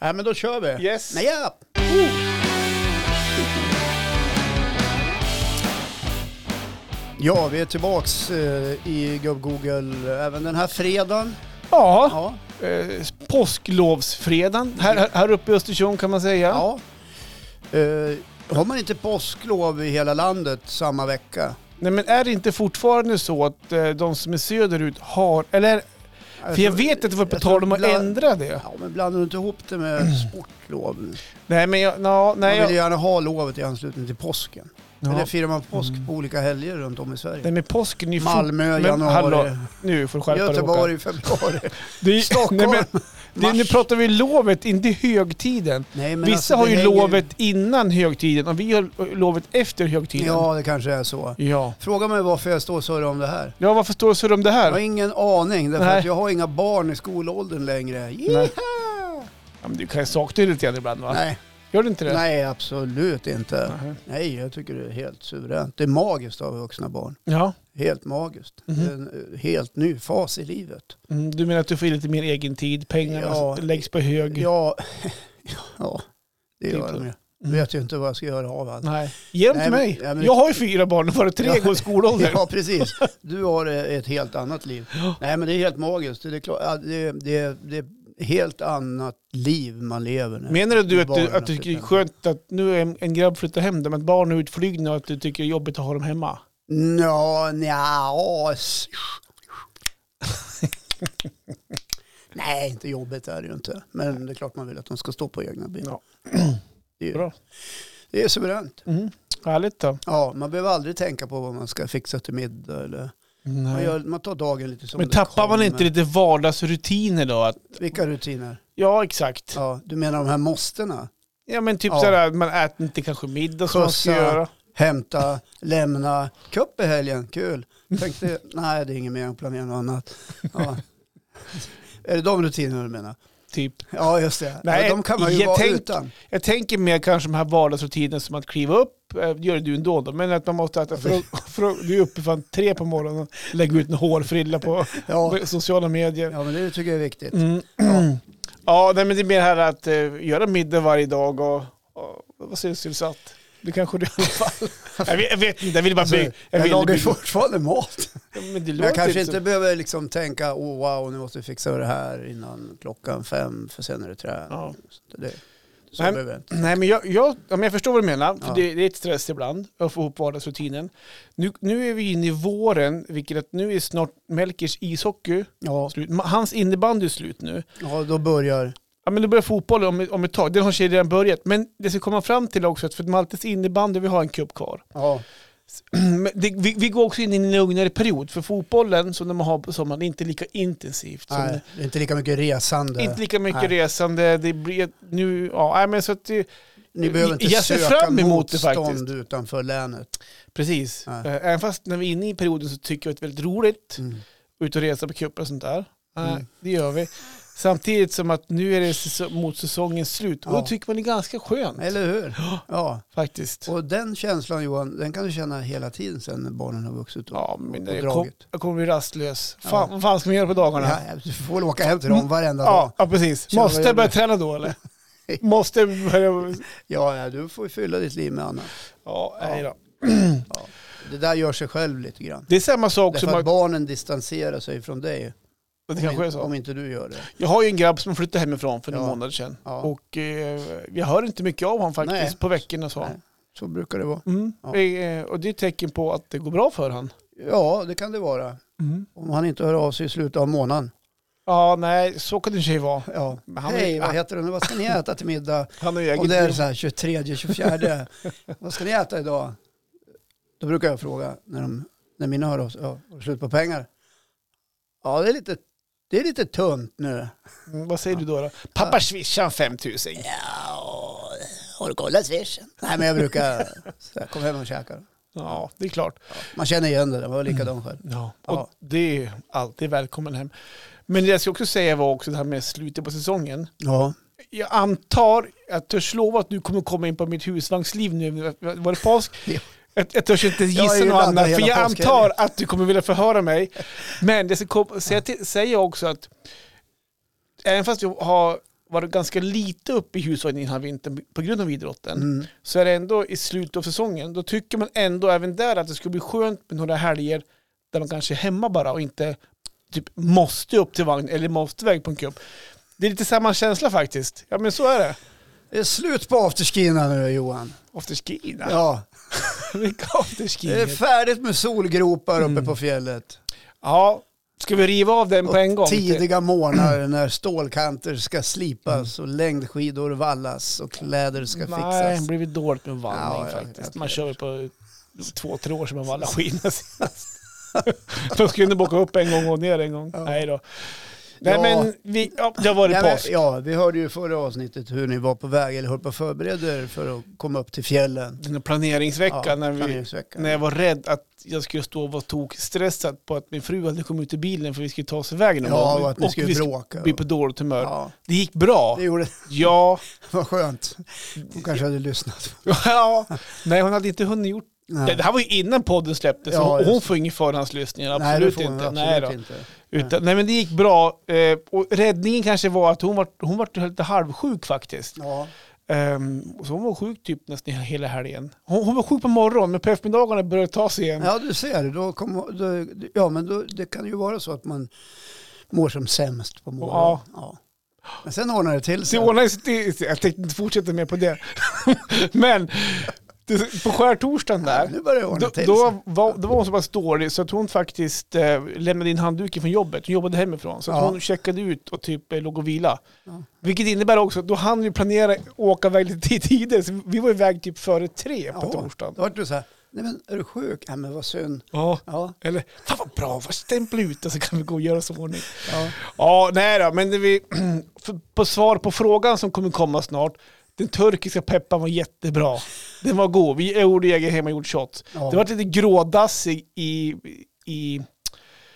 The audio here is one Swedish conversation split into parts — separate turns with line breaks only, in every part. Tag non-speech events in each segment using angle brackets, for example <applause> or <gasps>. Nej, men då kör vi.
Yes.
Nej, Oh. ja. Ja, vi är tillbaks eh, i Gubb-Google även den här fredagen.
Ja,
Ja,
eh, påsklovsfredagen här, här- här uppe i Östersund kan man säga.
ja. Eh, har man inte påsklov i hela landet samma vecka?
Nej, men är det inte fortfarande så att eh, de som är söderut har, eller för jag
tror-
vet att det var på
jag tror
tal om att
bland-
ändra det.
Alltså, Ja, men blandar du inte ihop det med sportlov? Man
Mm. Nej men jag, nå, nej,
vill ju
jag,
gärna ha lovet i anslutning till påsken.
ja.
Eller firar man påsk
Mm.
på olika helger runt om i Sverige?
nej men påsken är ju fort-
Malmö,
men
januari,
hallå, nu får du skärpa dig, Håkan.
Göteborg, februari,
Det är-
Stockholm,
Nej, men, det, nu
mars.
pratar vi lovet, inte högtiden.
Nej, men
Vissa
alltså,
har
det
ju
hänger-
lovet innan högtiden och vi har lovet efter högtiden.
Ja, det kanske är så.
Ja,
Fråga mig varför jag står och surrar om det här.
ja varför står det så om det
Jag har
här?
ingen aning, därför
Nej.
att jag har inga barn i skolåldern längre.
Nej.
Nej.
Ja, men du kan ju sakna det lite grann ibland va?
Nej.
Gör du inte det?
Nej, absolut inte.
Nähä.
Nej, jag tycker det är helt suveränt. Det är magiskt att ha vuxna barn.
Ja.
Helt magiskt.
Mhm.
Det är en eh, helt ny fas i livet.
Mm, du menar att du får lite mer egen tid, pengarna
Ja.
läggs på hög?
Ja, <laughs> ja det gör
Typ.
de ju.
Mm.
Vet ju inte vad jag ska göra av allt.
Nej. Ge dem
Nej,
till
men-
mig.
ja, men-
jag har ju fyra barn och bara tre
Ja.
går i skolåldern.
Ja, precis. Du har eh, ett helt annat liv. Nej, men det är helt magiskt. Det är, klart, ja, det, det, det är ett annat liv man lever nu.
Menar du att, du
Barnen
att du tycker det är
flyttar
skönt att nu är en, en grabb flyttar hem dem, att barn är utflygna och att du tycker det är jobbigt att ha dem hemma?
Nå, nja,
<laughs>
s- Nej, inte jobbigt är det ju inte. Men det är klart man vill att de ska stå på egna ben.
Ja.
<clears throat> Det, är,
Bra.
det är suveränt.
Mm. Härligt då.
Ja, man behöver aldrig tänka på vad man ska fixa till middag. Eller. Man, gör, man tar dagen lite som
Men
det
tappar man
kommer.
inte lite vardagsrutiner då? Att,
Vilka rutiner?
ja, exakt. Ja,
Ja, du menar de här måstena?
men typ
Ja.
sådär, man äter inte kanske middag som man ska
Skjutsa.
göra.
Hämta, lämna, cup i helgen, kul. Tänkte, nej det är inget mer, jag planerar något annat. Ja. är det de rutinerna du menar?
Typ.
Ja, just det.
Nej,
ja, de kan man ju
jag
vara
tänk-
utan.
Jag tänker mer kanske de här vardagsrutinerna som att kliva upp, eh, det gör du ändå då, men att man måste äta, för, <laughs> för, du är uppe fan tre på morgonen och lägger ut en hårfrilla på
Ja.
<laughs> sociala medier.
ja, men det tycker jag är viktigt.
Mm. <clears throat> Ja, nej, men det är mer här att eh, göra middag varje dag och, och vad säger sysselsatt? Det kanske du i alla
<laughs>
fall. jag, vet, jag vet inte, jag vill bara
Alltså,
bygga.
jag
vill
lagar ju
bygga-
fortfarande mat.
Ja, men det
Men jag
låter
kanske
inte
inte behöver liksom tänka, oh, wow, nu måste vi fixa det här innan klockan fem, för sen är det träning.
Ja.
Så det, så
Nej,
behöver jag inte.
Nej, men jag, jag, ja, men jag förstår vad du menar. För
Ja.
det, det är ett stress ibland att få ihop vardagsrutinen. Nu, nu är vi inne i våren, vilket att nu är snart Melkers ishockey
Ja,
slut. Ma- Hans innebandy är slut nu.
ja, då börjar...
Ja, men då börjar fotbollen om, om ett tag. Den har sig redan börjat. Men det ska komma fram till också, att för att Maltes innebandy, vi har en cup kvar. <clears throat>
Ja,
Men det, vi, vi går också in i en lugnare period, för fotbollen som de har på sommaren är inte lika intensivt. Som
nej, det är inte lika mycket resande.
Inte lika mycket
Nej.
resande. Det blir nu, ja, nej, men så att det,
Ni behöver inte
Eh, Jag ser
söka
fram emot det
motstånd
faktiskt.
utanför länet.
Precis.
Ja.
Eh, Även fast när vi är inne i perioden så tycker jag att det är väldigt roligt. Ut och resa på cuper och sånt där. Eh,
Mm.
Det gör vi. Samtidigt som att nu är det säs- mot säsongens slut. Och då
Ja.
tycker man det är ganska skönt
Eller hur? Ja.
faktiskt.
Och den känslan Johan, den kan du känna hela tiden sen när barnen har vuxit upp.
Ja, men
och
jag, kom,
draget.
jag kommer bli rastlås.
Ja.
Fan, Vad fan ska man göra på dagarna? Ja,
Ja, du får väl åka hem till dem varenda dag.
Mm. ja, precis.
Tjena,
Måste
vad
jag
gör
börja
du?
träna då
<laughs>
eller? Måste jag börja...
Ja, ja, du får ju fylla ditt liv med annat.
Ja, nej då.
Det där gör sig själv lite grann.
Det är samma sak som...
Därför att
att-
barnen distanserar sig från dig.
Det
Om,
kanske är
inte, om
så.
inte du gör det.
Jag har ju en grabb som flyttade hemifrån för några
Ja.
månader sedan.
Ja.
Och eh, jag hör inte mycket av honom faktiskt
Nej.
på veckorna. Så.
Nej. Så brukar det vara.
Mm.
Ja.
Eh, Och det är ett tecken på att det går bra för han.
Ja, det kan det vara. Om han inte hör av sig i slutet av månaden.
Ja, nej, så kan det i och för sig vara.
Ja.
Men han-
Hej, vad heter den? Vad ska ni äta till middag?
Han har ju
Och
eget
det är
liv.
så här 23, <laughs> 24. Vad ska ni äta idag? Då brukar jag fråga när, de, när mina hör oss, ja, har du slut på pengar? Ja, det är lite, det är lite tunt nu.
Mm, Vad säger du då? då? Pappa swishar 5000.
Ja, har du kollat swishen? Nej, men jag brukar så här, kom hem och käka.
Ja, det är klart.
Man känner igen det, där, man var likadan själv.
Ja.
Ja.
Och det är alltid välkommen hem. Men det jag ska också säga var också det här med slutet på säsongen.
Ja,
Jag antar, jag törs lova att du kommer komma in på mitt husvagnsliv nu. Var det påsk?
Ja.
Jag, jag törs inte
Jag är
gissa
ju
något
laddad
annat, för
hela
jag
påsken.
antar att du kommer vilja förhöra mig. Men det ska kom, säga, till, säga också att även fast jag har varit ganska lite uppe i hushållen den här vintern på grund av idrotten.
Mm.
Så är det ändå i slutet av säsongen, då tycker man ändå även där att det skulle bli skönt med några helger där man kanske är hemma bara och inte typ måste upp till vagn eller måste iväg på en cup. Det är lite samma känsla faktiskt. Ja men så är det.
Det är slut på afterskina nu Johan.
Afterski? nej. <laughs>
Ja,
Vilka afterski?
det är färdigt med solgropar uppe
Mm.
på fjället.
Ja, ska vi riva av den på en gång?
Och tidiga morgnar <clears throat> när stålkanter ska slipas och längdskidor vallas och kläder ska
Nej, det
fixas.
blivit dåligt med vallning
Ja, ja,
faktiskt.
jag
Man
vet.
kör ju på två, tre år sedan man
<laughs>
vallade skidorna senast. De skulle bocka upp en gång och ner en gång.
Ja.
Nej då. Nej
Ja.
men, vi, ja, det har varit
Nej,
påsk.
men, ja, vi hörde ju i förra avsnittet hur ni var på väg eller höll på att förbereda er för att komma upp till fjällen.
Den här planeringsveckan när, vi,
planeringsveckan.
när jag var rädd att jag skulle stå och vara tokstressad på att min fru hade kommit ut i bilen för vi skulle ta oss iväg någon
Ja,
gång.
och att ni skulle
vi
bråka.
bli på dåligt humör.
Ja,
Det gick bra.
det gjorde, <laughs>
Ja. <laughs>
var skönt. Hon kanske hade lyssnat.
ja. Nej, hon hade inte hunnit gjort
Nej.
det. Det här var ju innan podden släpptes.
Ja,
hon,
just
hon
det.
får ingen förhandslyssningar.
Nej, det
Absolut
får hon
inte.
absolut
Nej, då.
inte.
Utan, nej men det gick bra. Eh, och räddningen kanske var att hon var, hon var lite halvsjuk faktiskt.
Ja.
Ehm, så hon var sjuk typ nästan hela helgen. Hon, hon var sjuk på morgonen men på eftermiddagarna började det ta sig igen.
ja, du ser. Då kom, då, ja, men då, det kan ju vara så att man mår som sämst på morgonen. Ja. Men sen ordnar det till
Så
sig.
jag, ordnade, det- jag tänkte inte fortsätta mer på det. <laughs> men det, på skärtorsdagen
Ja,
där,
nu börjar det ordna
då,
till sig.
då, var, då var hon så pass dålig så att hon faktiskt eh, lämnade in handduken från jobbet. Hon jobbade hemifrån. Så att
Ja.
hon checkade ut och typ eh, låg och vila.
Ja.
Vilket innebär också att då hann vi planera åka iväg lite tidigare. Så vi var iväg typ före tre på
Ja,
torsdagen.
Då vart du så här, nej men är du sjuk? Ja men vad synd.
Ja.
Ja,
Eller, fan vad bra, vad stämpla ut det så kan vi gå och göra oss i ordning.
ja.
Ja, nej då, men det vi, <clears throat> för, på svar på frågan som kommer komma snart. Den turkiska pepparn var jättebra. Den var god. Vi gjorde egen hemmagjord shot.
Ja.
Det var lite grådassig i, i,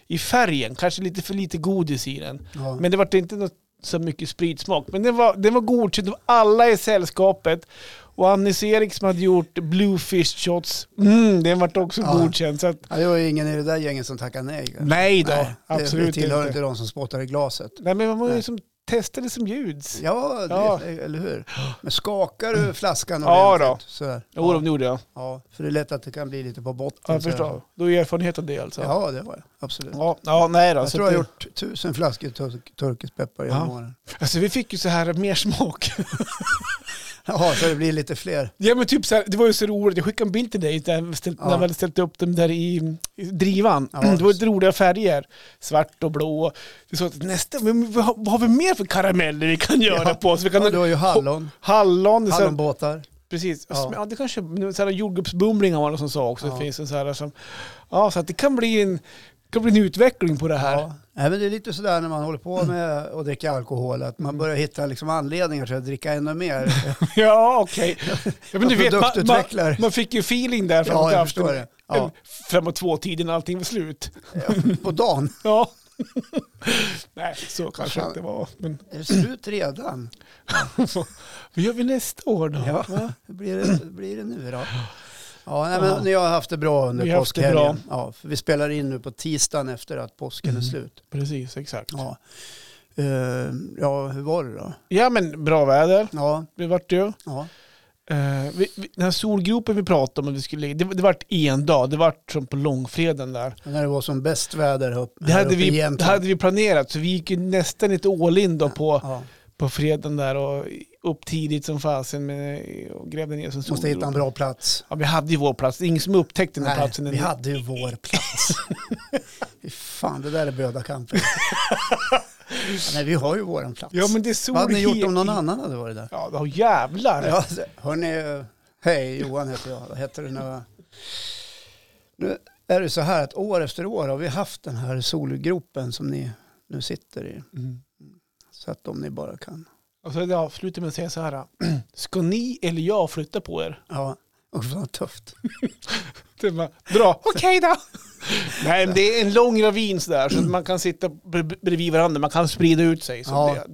i färgen, kanske lite för lite godis i den.
ja.
Men det var inte något, så mycket spritsmak. Men den var, den var godkänd av alla i sällskapet. Och Annis Erik som hade gjort Bluefish shots, mm, den var också
Ja.
godkänd. Så att,
ja det var ju ingen i det där gänget som tackade nej.
Nej då,
det- Det
absolut
tillhör
inte.
inte de som spottar i glaset.
Nej men man var ju
Nej.
som testade som bjuds. Ja,
Ja, det,
Ja.
eller hur? Men skakar du flaskan
Ja,
ordentligt? Sådär.
jo,
Ja,
de gjorde jag.
ja, för det är lätt att det kan bli lite på botten.
Ja, jag
sådär.
förstår. Då är erfarenhet av det alltså. Ja,
Ja, det har jag. Absolut.
ja, nej då.
Jag
så
tror jag
att
har
Alltså, det-
gjort tusen flaskor tur- turkisk peppar genom
Ja.
åren.
Alltså vi fick ju så här mer smak. <laughs>
Ja, så det blir lite fler.
ja men typ så här, det var ju så roligt, jag skickade en bild till dig där vi ställt,
Ja.
när vi hade ställt upp dem där i, i drivan. <clears throat>
Ja,
det var
just.
lite roliga färger, svart och blå. Vi sa att nästa, men vad har- vad har vi mer för karameller vi kan göra
Ja.
på? Så vi kan
Ja, du har ju hallon,
Hallon, det är så här,
hallonbåtar.
Precis.
Ja.
Ja. Ja, det kanske så här jordgubbsbumlingar var det som sa också.
Ja.
Det finns en så här som... Ja, så att det kan bli en, det kan bli en utveckling på det här. Mm.
Ja. Nej, men det är lite sådär när man håller på med att dricka alkohol, att man börjar hitta liksom anledningar till att dricka
<laughs>
ännu mer.
<laughs> Ja,
<laughs>
okej. Ja, men du vet, man, man,
Produktutvecklare.
man fick ju feeling där
Ja,
framåt
jag
afton.
förstår det. Ja.
Framåt tvåtiden när allting var slut.
På dagen.
Ja. <laughs> Nej, så kanske det
Fan.
inte var. Men <laughs>
Är det slut redan?
vad gör vi nästa år då?
Ja.
Va?
Hur blir det, blir det nu då? Ja, nej,
Ja.
men ni har haft det bra under
Vi har haft det bra.
påskhelgen. Ja, för vi spelar in nu på tisdagen efter att påsken är
Mm.
slut.
Precis, exakt. Ja,
Ja. Eh, ja, hur var det då?
men bra väder.
Ja,
Det vart ju.
ja.
Eh, vi, vi, den här solgropen vi pratade om, att vi skulle, det, det vart en dag, det vart som på långfredagen där.
när det var som bäst väder upp,
Det
här
hade,
uppe i
vi,
Jämtland.
det hade vi planerat, så vi gick ju nästan lite all in då på,
ja.
på fredagen där och upp tidigt som fasen med, och grävde ner som
Måste hitta en
solgrop.
bra plats.
Ja, vi hade ju vår plats, det är ingen som upptäckte den här
Nej,
platsen.
vi hade ju
<laughs>
vår plats. Fy fan, det där är bödakampen. ja, nej, vi har ju våran plats.
Ja men det är sol
Vad hade ni gjort
helt-
om någon annan hade varit där?
Ja då, jävlar.
Ja, alltså, hörni, hej Johan heter jag. Vad heter du nu? Nu är det så här att år efter år har vi haft den här solgropen som ni nu sitter i.
Mm.
Så att om ni bara kan.
Och så är det avslutar med att säga så här. <clears throat> Ska ni eller jag flytta på er?
Ja, och fan tufft.
Det var Bra, okej
<laughs>
då. Nej, men det är en lång ravin sådär så att man kan sitta bre- bredvid varandra, man kan sprida ut sig. Så
Ja.
det,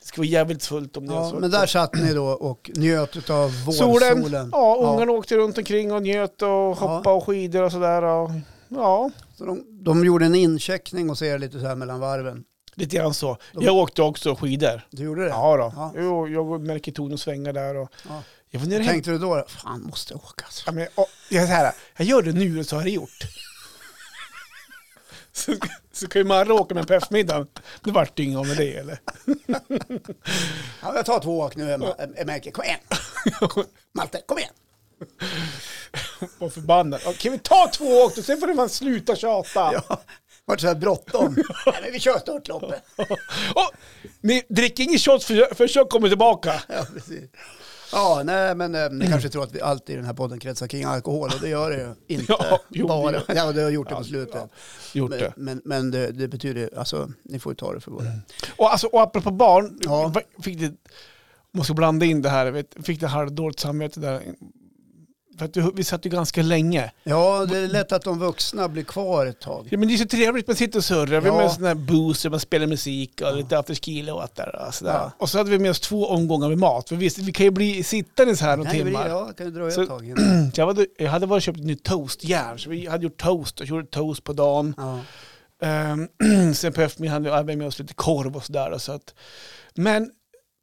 det ska vara jävligt fullt om det är
Ja,
så.
men där satt ni då och njöt av
Solen,
vårsolen.
ja, ungarna åkte runt omkring och njöt och hoppade och skidor och sådär. Och, ja.
Så de, de gjorde en incheckning och ser lite så här mellan varven.
Lite grann så.
De-
Jag åkte också skidor.
Du gjorde det?
Ja då.
Ja.
Jo, jag märker ton och svängar där. Och
Ja.
jag var nere hemma.
Tänkte du då, fan måste jag åka alltså.
Ja, men, och, jag, är så här, jag gör det nu och så har det <laughs> gjort. Så, så kan ju Marre åka med på eftermiddagen. Det vart ju inget av med det eller? <laughs>
Ja, men jag tar två åk nu, Emma- Em- Emelke. Kom igen! Malte, kom igen!
Var förbannad. Ja, Kan vi ta två åk och sen får man sluta tjata.
Ja, vart så här bråttom. Nej, men vi kör störtloppet.
<laughs> Och, ni dricker ingen shots för, för jag kommer tillbaka.
Ja, precis. Ja, nej, men eh, ni kanske tror att vi alltid i den här podden kretsar kring alkohol och det gör det ju inte.
<laughs> Ja, jo, det
bara.
gör
Ja, det har gjort det på
Ja,
slutet.
gjort
Men,
det.
men, men det, det betyder, alltså, ni får ju ta det för vad det är.
Och, alltså, och apropå barn,
Ja.
jag fick det, måste blanda in det här, jag vet, jag fick det halvdåligt samvete där. För att vi- vi satt ju ganska länge.
Ja, det är lätt att de vuxna blir kvar ett tag.
Ja, men det är så trevligt, man sitter och surrar, vi
Ja.
har med en sån här booster, man spelar musik och lite afterski-låtar och sådär.
Ja.
Och så hade vi med oss två omgångar med mat, för visst, vi kan ju bli sittandes här några
Nej, men det-
timmar.
ja, kan ju dröja
Så-
ett tag innan.
<clears throat> Så jag, hade, jag hade varit och köpt ett nytt toastjärn, så vi hade gjort toast och gjorde toast på dagen.
Ja.
Ehm, <clears throat> sen på eftermiddagen hade vi med oss lite korv och sådär. och Så att, men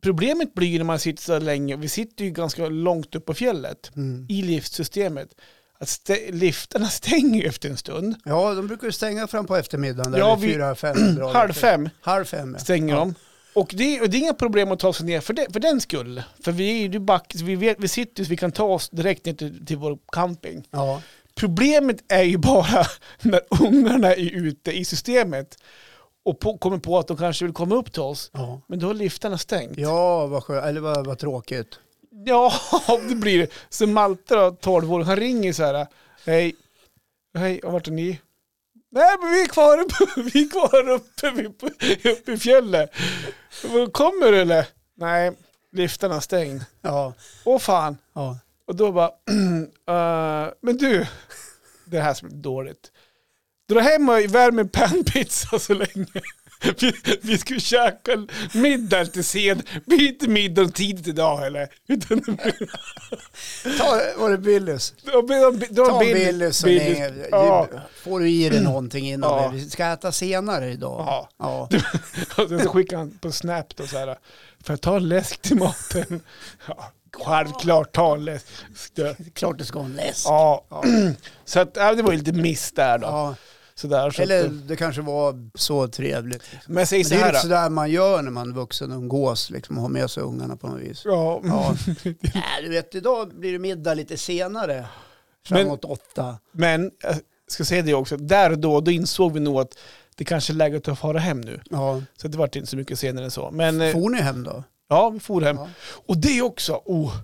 problemet blir ju när man sitter så här länge, vi sitter ju ganska långt upp på fjället
Mm.
i liftsystemet, att stä- liftarna <laughs> stänger ju efter en stund.
ja, de brukar ju stänga fram på eftermiddagen. Där
Ja,
vid
vi-
fyra, fem. drar det.
Halv fem
Halv fem, ja.
stänger de. Och det, är- och det är inga problem att ta sig ner för, det, för den skull. För vi är ju back, vi, vet, vi sitter så vi kan ta oss direkt ner till, till vår camping.
ja.
Problemet är ju bara <laughs> när ungarna är ute i systemet och på, kommer på att de kanske vill komma upp till oss.
Ja,
Men då har liftarna stängt.
ja vad skönt. Eller vad, vad tråkigt.
Ja, <laughs> det blir det. Så Malte då, 12 år, han ringer så här. Hej, hej, och vart är ni? Nej, men vi är kvar uppe, <laughs> vi är kvar uppe, vi är på- <laughs> uppe i fjället. "Men Kommer du eller? Nej, liftarna är stängd.
Ja,
Åh fan.
ja.
Och då bara, <clears throat> "Eh, men du, det här som är dåligt. Dra hem och värm en pannpizza så länge. <laughs> Vi, vi skulle käka middag till sen. Blir inte middagen tidigt idag eller? <laughs> Utan det blir-
Ta, var det Billys?
dra- dra- dra
Ta
Billys-
Billys. så
Billys.
länge. Du-
Ja. Mm.
Får du i dig någonting innan
Ja.
det? Vi ska äta senare idag.
Ja.
Ja.
<laughs> Och sen så skickade han på Snap då så här. Får jag ta en läsk till maten? <laughs> Ja, självklart ta en läsk.
Klart du ska ha en läsk.
Ja, <clears throat>
Ja.
så att, ja, det var ju lite miss där då.
Ja.
Så där, så
Eller
att,
det kanske var så trevligt. liksom.
men jag säger
Men
så
det är ju
här. då.
lite sådär man gör när man är vuxen och umgås, liksom, och har med sig ungarna på något vis.
Ja,
Ja. Nej, Äh, du vet, idag blir det middag lite senare. Framåt åtta.
<laughs> men jag ska säga det också, där och då, då insåg vi nog att det kanske är läge att fara hem nu.
Ja.
Så det vart inte så mycket senare än så. Men eh,
Får ni hem då?
ja, vi for hem.
Ja.
Och det också, oh,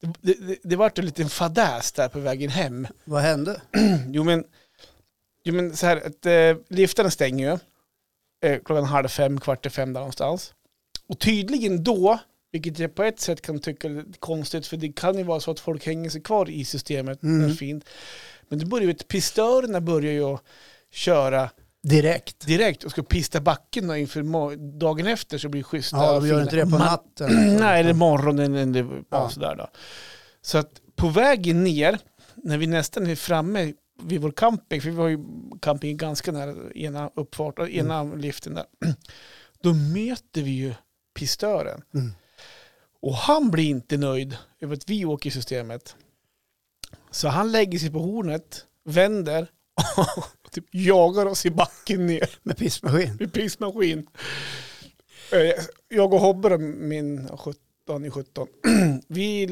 det, det, det, det vart en liten fadäs där på vägen hem.
Vad hände?
Jo men, jo, men så här, att, eh, liftarna stänger ju eh, klockan halv fem, kvart i fem där någonstans. Och tydligen då, vilket jag på ett sätt kan tycka är lite konstigt, för det kan ju vara så att folk hänger sig kvar i systemet
Mm.
när det är fint. Men det börjar ju, att pistörerna börjar ju att köra
Direkt.
direkt och ska pista backen då inför mo- dagen efter så blir det schyssta.
Ja,
och
de gör
fina.
inte det på
Man-
<clears throat> natten. liksom.
<clears throat> Nej, eller morgonen eller
Ja.
ja. sådär då. Så att på vägen ner, när vi nästan är framme vid vår camping, för vi har ju camping ganska nära ena uppfart och
Mm.
ena liften där, <clears throat> då möter vi ju pistören.
Mm.
Och han blir inte nöjd över att vi åker i systemet. Så han lägger sig på hornet, vänder <laughs> och typ jagar oss i backen ner
Med pissmaskin.
i pissmaskin. Eh, Jag och Hobbe, då, min 17 i 17, <clears throat> vi,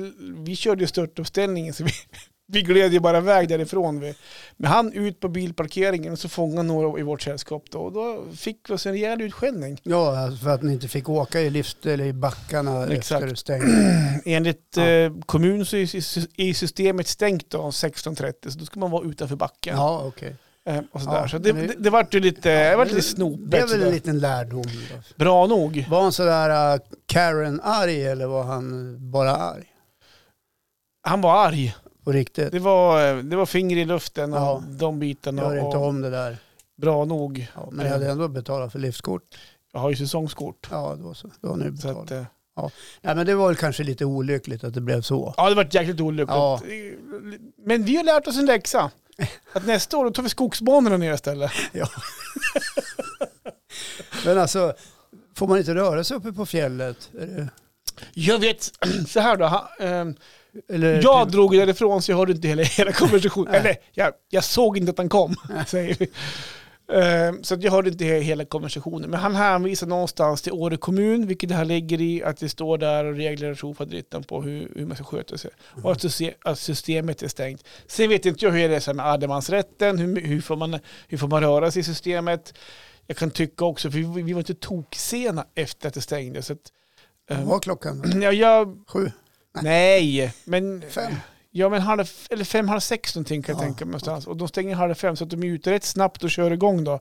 vi körde ju störtuppställningen så vi, <laughs> vi gled ju bara iväg därifrån. Vi. Men han ut på bilparkeringen och så fångade några i vårt sällskap då, och då fick vi oss en rejäl utskällning.
Ja, alltså för att ni inte fick åka i lift eller i backarna
Exakt.
efter det stängde. <clears throat>
Enligt
Ja.
eh, kommunen så är sy- är systemet stängt då 16.30 så då ska man vara utanför backen.
Ja, okej.
Eh, och sådär.
Ja,
så det,
men det-
det, det vart ju lite, det vart lite
Det är
snopet.
väl en
sådär.
liten lärdom. Då.
Bra nog.
Var han sådär äh, Karen-arg eller var han bara arg?
Han var arg.
På riktigt?
Det var, det var finger i luften och
Ja.
de bitarna.
Gör inte
Och
om det där.
bra nog.
Ja, men jag
Eh.
hade ändå betalat för liftkort.
Jag har ju säsongskort.
Ja, då så. Då har ni
Så att,
betalat.
eh,
Ja, men det var väl kanske lite olyckligt att det blev så.
ja, det var jäkligt olyckligt.
Ja.
Men vi har lärt oss en
<laughs>
läxa. Att nästa år då tar vi skogsbanorna ner istället.
Men alltså, får man inte röra sig uppe på fjället? Är det-
Jag vet, så här då. ha- ehm,
Eller, typ-
Jag drog ju därifrån så jag hörde inte hela, hela konversationen.
Eh, Nej.
Eller jag, jag såg inte att han kom, säger vi. Ehm, Så att jag hörde inte he- hela konversationen. Men han hänvisar någonstans till Åre kommun, vilket det här ligger i, att det står där och regler och tjofaderittan på hur, hur man ska sköta sig. Och att, syste- att systemet är stängt. Sen vet inte jag hur det är så här med allemansrätten, hur, hur, får man, hur får man röra sig i systemet. Jag kan tycka också, för vi, vi var inte toksena efter att det stängdes. Så att,
Vad
ehm, <clears throat>
var klockan?
ja, jag,
Sju?
nej, men
Fem?
Ja, men halv, eller fem, halv sex någonting kan jag
Ja,
tänka mig någonstans. Och de stänger halv fem så att de är ute rätt snabbt och kör igång då.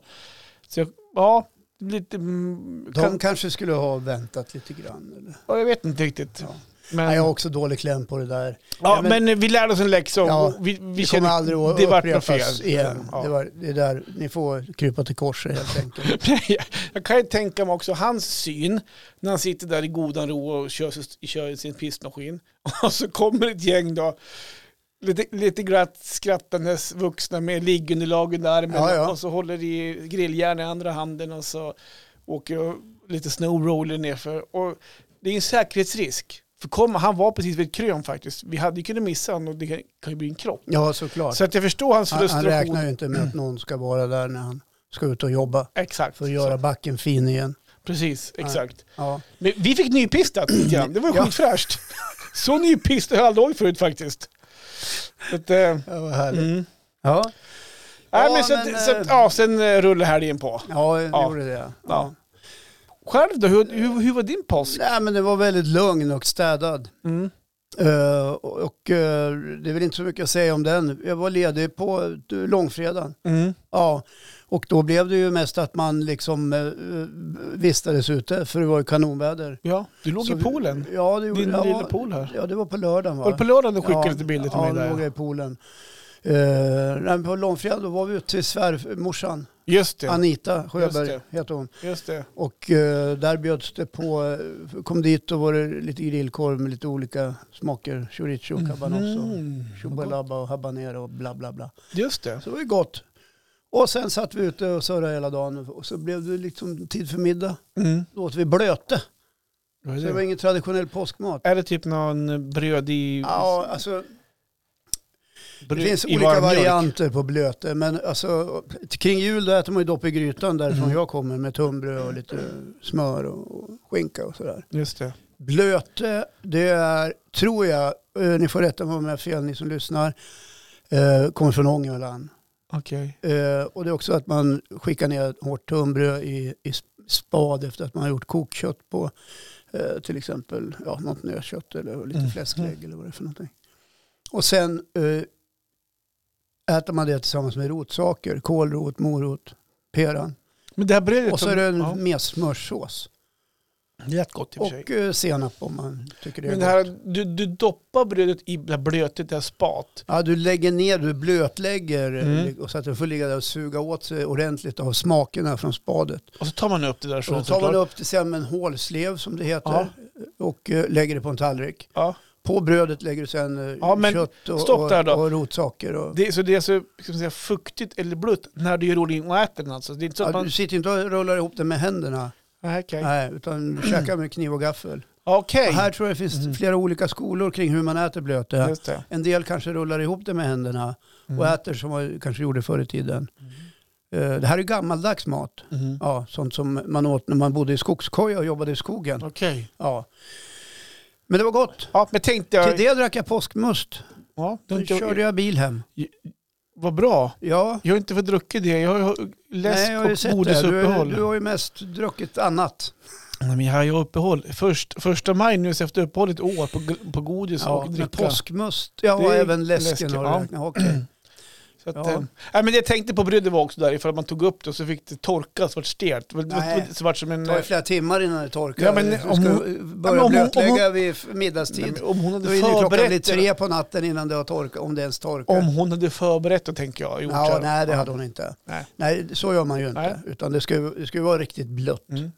Så jag, ja, det blir lite... mm,
De
Kan,
kanske skulle ha väntat lite grann. Eller?
ja, jag vet inte riktigt.
Ja.
Men,
Nej, jag har
ja,
också dålig kläm på det där. ja, men-
men, vi lärde oss en läxa och
Ja,
vi, vi
Vi
kände
kommer aldrig att
det vart något
upprepas
fel.
igen.
Ja.
Det, var, det är där, ni får krypa till korset helt enkelt.
jag, <laughs> jag kan ju tänka mig också hans syn när han sitter där i godan ro och kör, sin- kör sin pissmaskin. <laughs> Och så kommer ett gäng då, lite, lite glatt skrattandes vuxna med liggunderlag under armen
Ja, ja.
och så håller i grilljärn i andra handen och så åker jag lite snowroller nerför. Och det är en säkerhetsrisk. För kom, han var precis vid ett krön faktiskt. Vi hade ju kunnat missa honom och det kan kan ju bli en krock.
Ja, såklart.
Så att jag förstår hans
han, han
frustration.
räknar ju inte med att någon ska vara där när han ska ut och jobba
Exakt.
för att göra
Så,
backen fin igen.
precis,
Nej.
exakt.
Ja.
Men vi fick nypistat lite grann. Det var ju
Mm, Ja.
skitfräscht. Så nypist har jag aldrig varit förut faktiskt. Så att, eh,
Ja, vad härligt.
mm.
Ja,
Nej,
Ja,
men så att,
men,
så att,
eh,
ja, sen eh, rullar helgen på.
ja, det
Ja.
gjorde det. Ja.
Ja. Själv då, hur, hur, hur var din påsk?
Nej, men det var väldigt lugn och städad.
Mm.
Eh, och och, eh, det är väl inte så mycket att säga om den. Jag var ledig på eh, långfredagen.
Mm.
Ja, och då blev det ju mest att man liksom eh, vistades ute för det var ju kanonväder.
Ja, du låg
Så
i
vi-
poolen.
Ja, det gjorde
Din
ja,
lilla pool här.
Ja, det var på lördagen va?
Var det på lördagen du skickade
ja,
lite bilder till
ja,
mig
Ja, då låg
där?
jag i poolen. Eh, nej, men på långfredagen då var vi ute till svärmorsan,
Just det,
Anita Sjöberg
Just
heter hon.
just det.
Och eh, där bjöds det på, eh, kom dit och var det lite grillkorv med lite olika smaker. Chorizo, cabanos och
Mm.
chubalabba och habanero och bla bla bla.
Just det.
Så det var ju gott. Och sen satt vi ute och surrade hela dagen och så blev det liksom tid för middag.
Mm.
Då åt vi blöte.
Vad
Så det
är,
var
det?
ingen traditionell påskmat.
är det typ någon bröd i...
Ja, alltså,
bröd
det finns
i
olika
varm mjölk?
varianter på blöte. Men alltså, kring jul då äter man ju dopp i grytan därifrån
Mm.
jag kommer med tunnbröd och lite smör och, och skinka och sådär.
Just det.
Blöte, det är, tror jag, eh, ni får rätta mig om jag har fel, ni som lyssnar, eh, kommer från Ångermanland.
Okej.
Eh, och det är också att man skickar ner ett hårt tunnbröd i, i spad efter att man har gjort kokkött på eh, till exempel ja, något nötkött eller lite
Mm.
fläsklägg eller vad det är för någonting. Och sen eh, äter man det tillsammans med rotsaker, kålrot, morot, peran.
Men det här brödet...
Och så är det en
ja,
messmörssås.
det lät gott i och för sig.
Och eh, senap om man tycker det är
Men det
gott.
här, du, du doppar brödet i det här blötet, det här spat.
Ja, du lägger ner, du blötlägger
Mm.
eh, och så att den får ligga där och suga åt sig ordentligt av smakerna från spadet.
Och så tar man upp det där
Och
så
då tar man upp det sen med en hålslev som det heter
Ja.
och eh, lägger det på en tallrik.
Ja.
På brödet lägger du sen eh,
Ja, men
kött och,
stopp där då.
och, och rotsaker. Och,
Det, så det är så, ska man säga, fuktigt eller blött när du gör ordning och äter den alltså. Det är inte så
ja,
att man...
Du sitter inte och rullar ihop det med händerna,
Nej, okej.
nej, utan du käkar med kniv och gaffel.
Okej.
Och här tror jag det finns
Mm.
flera olika skolor kring hur man äter blöte.
Just det.
En del kanske rullar ihop det med händerna
Mm.
och äter som man kanske gjorde förr i tiden. Eh, Det här är gammaldags mat.
Mm.
Ja, sånt som man åt när man bodde i skogskoja och jobbade i skogen.
Okej.
Ja. Men det var gott.
Ja, men tänkte jag...
Till det drack jag påskmust.
Ja, det har
Då
inte,
körde jag bil hem.
Vad bra.
Ja,
Jag har inte fått druckit det. Jag har ju läsk
Nej, jag har ju
och
sett det. Du, är-
godesuppehåll.
du har ju mest druckit annat.
Nej, men jag har ju uppehåll. Först, första maj nu så efter uppehållet år på, g- på godis
Ja,
och
men
dricka.
påskmust, ja
Det är
även läsken
läsken,
har
ja.
du räknat. Okej.
Så att,
Ja.
eh, nej, men jag tänkte på brödet var också där ifall man tog upp det och så fick det torka så vart det stelt. Det
Nej.
var- Så vart som en... eh,
Det tar ju flera timmar innan det torkar.
Ja, men
du
om
ska
hon-
börja
Ja, men om hon- om
blötlägga vid f-
Nej, men
middagstid.
om hon
Då
hade
är det klockan blir
förberett det,
tre på natten innan det har torkat, om det ens torkar.
om hon hade förberett det tänker jag. Gjort så
Ja,
här.
nej, det hade hon inte.
Nej.
Nej, så gör man ju inte.
Nej.
Utan det ska, ju- det ska ju vara riktigt blött.
Mm.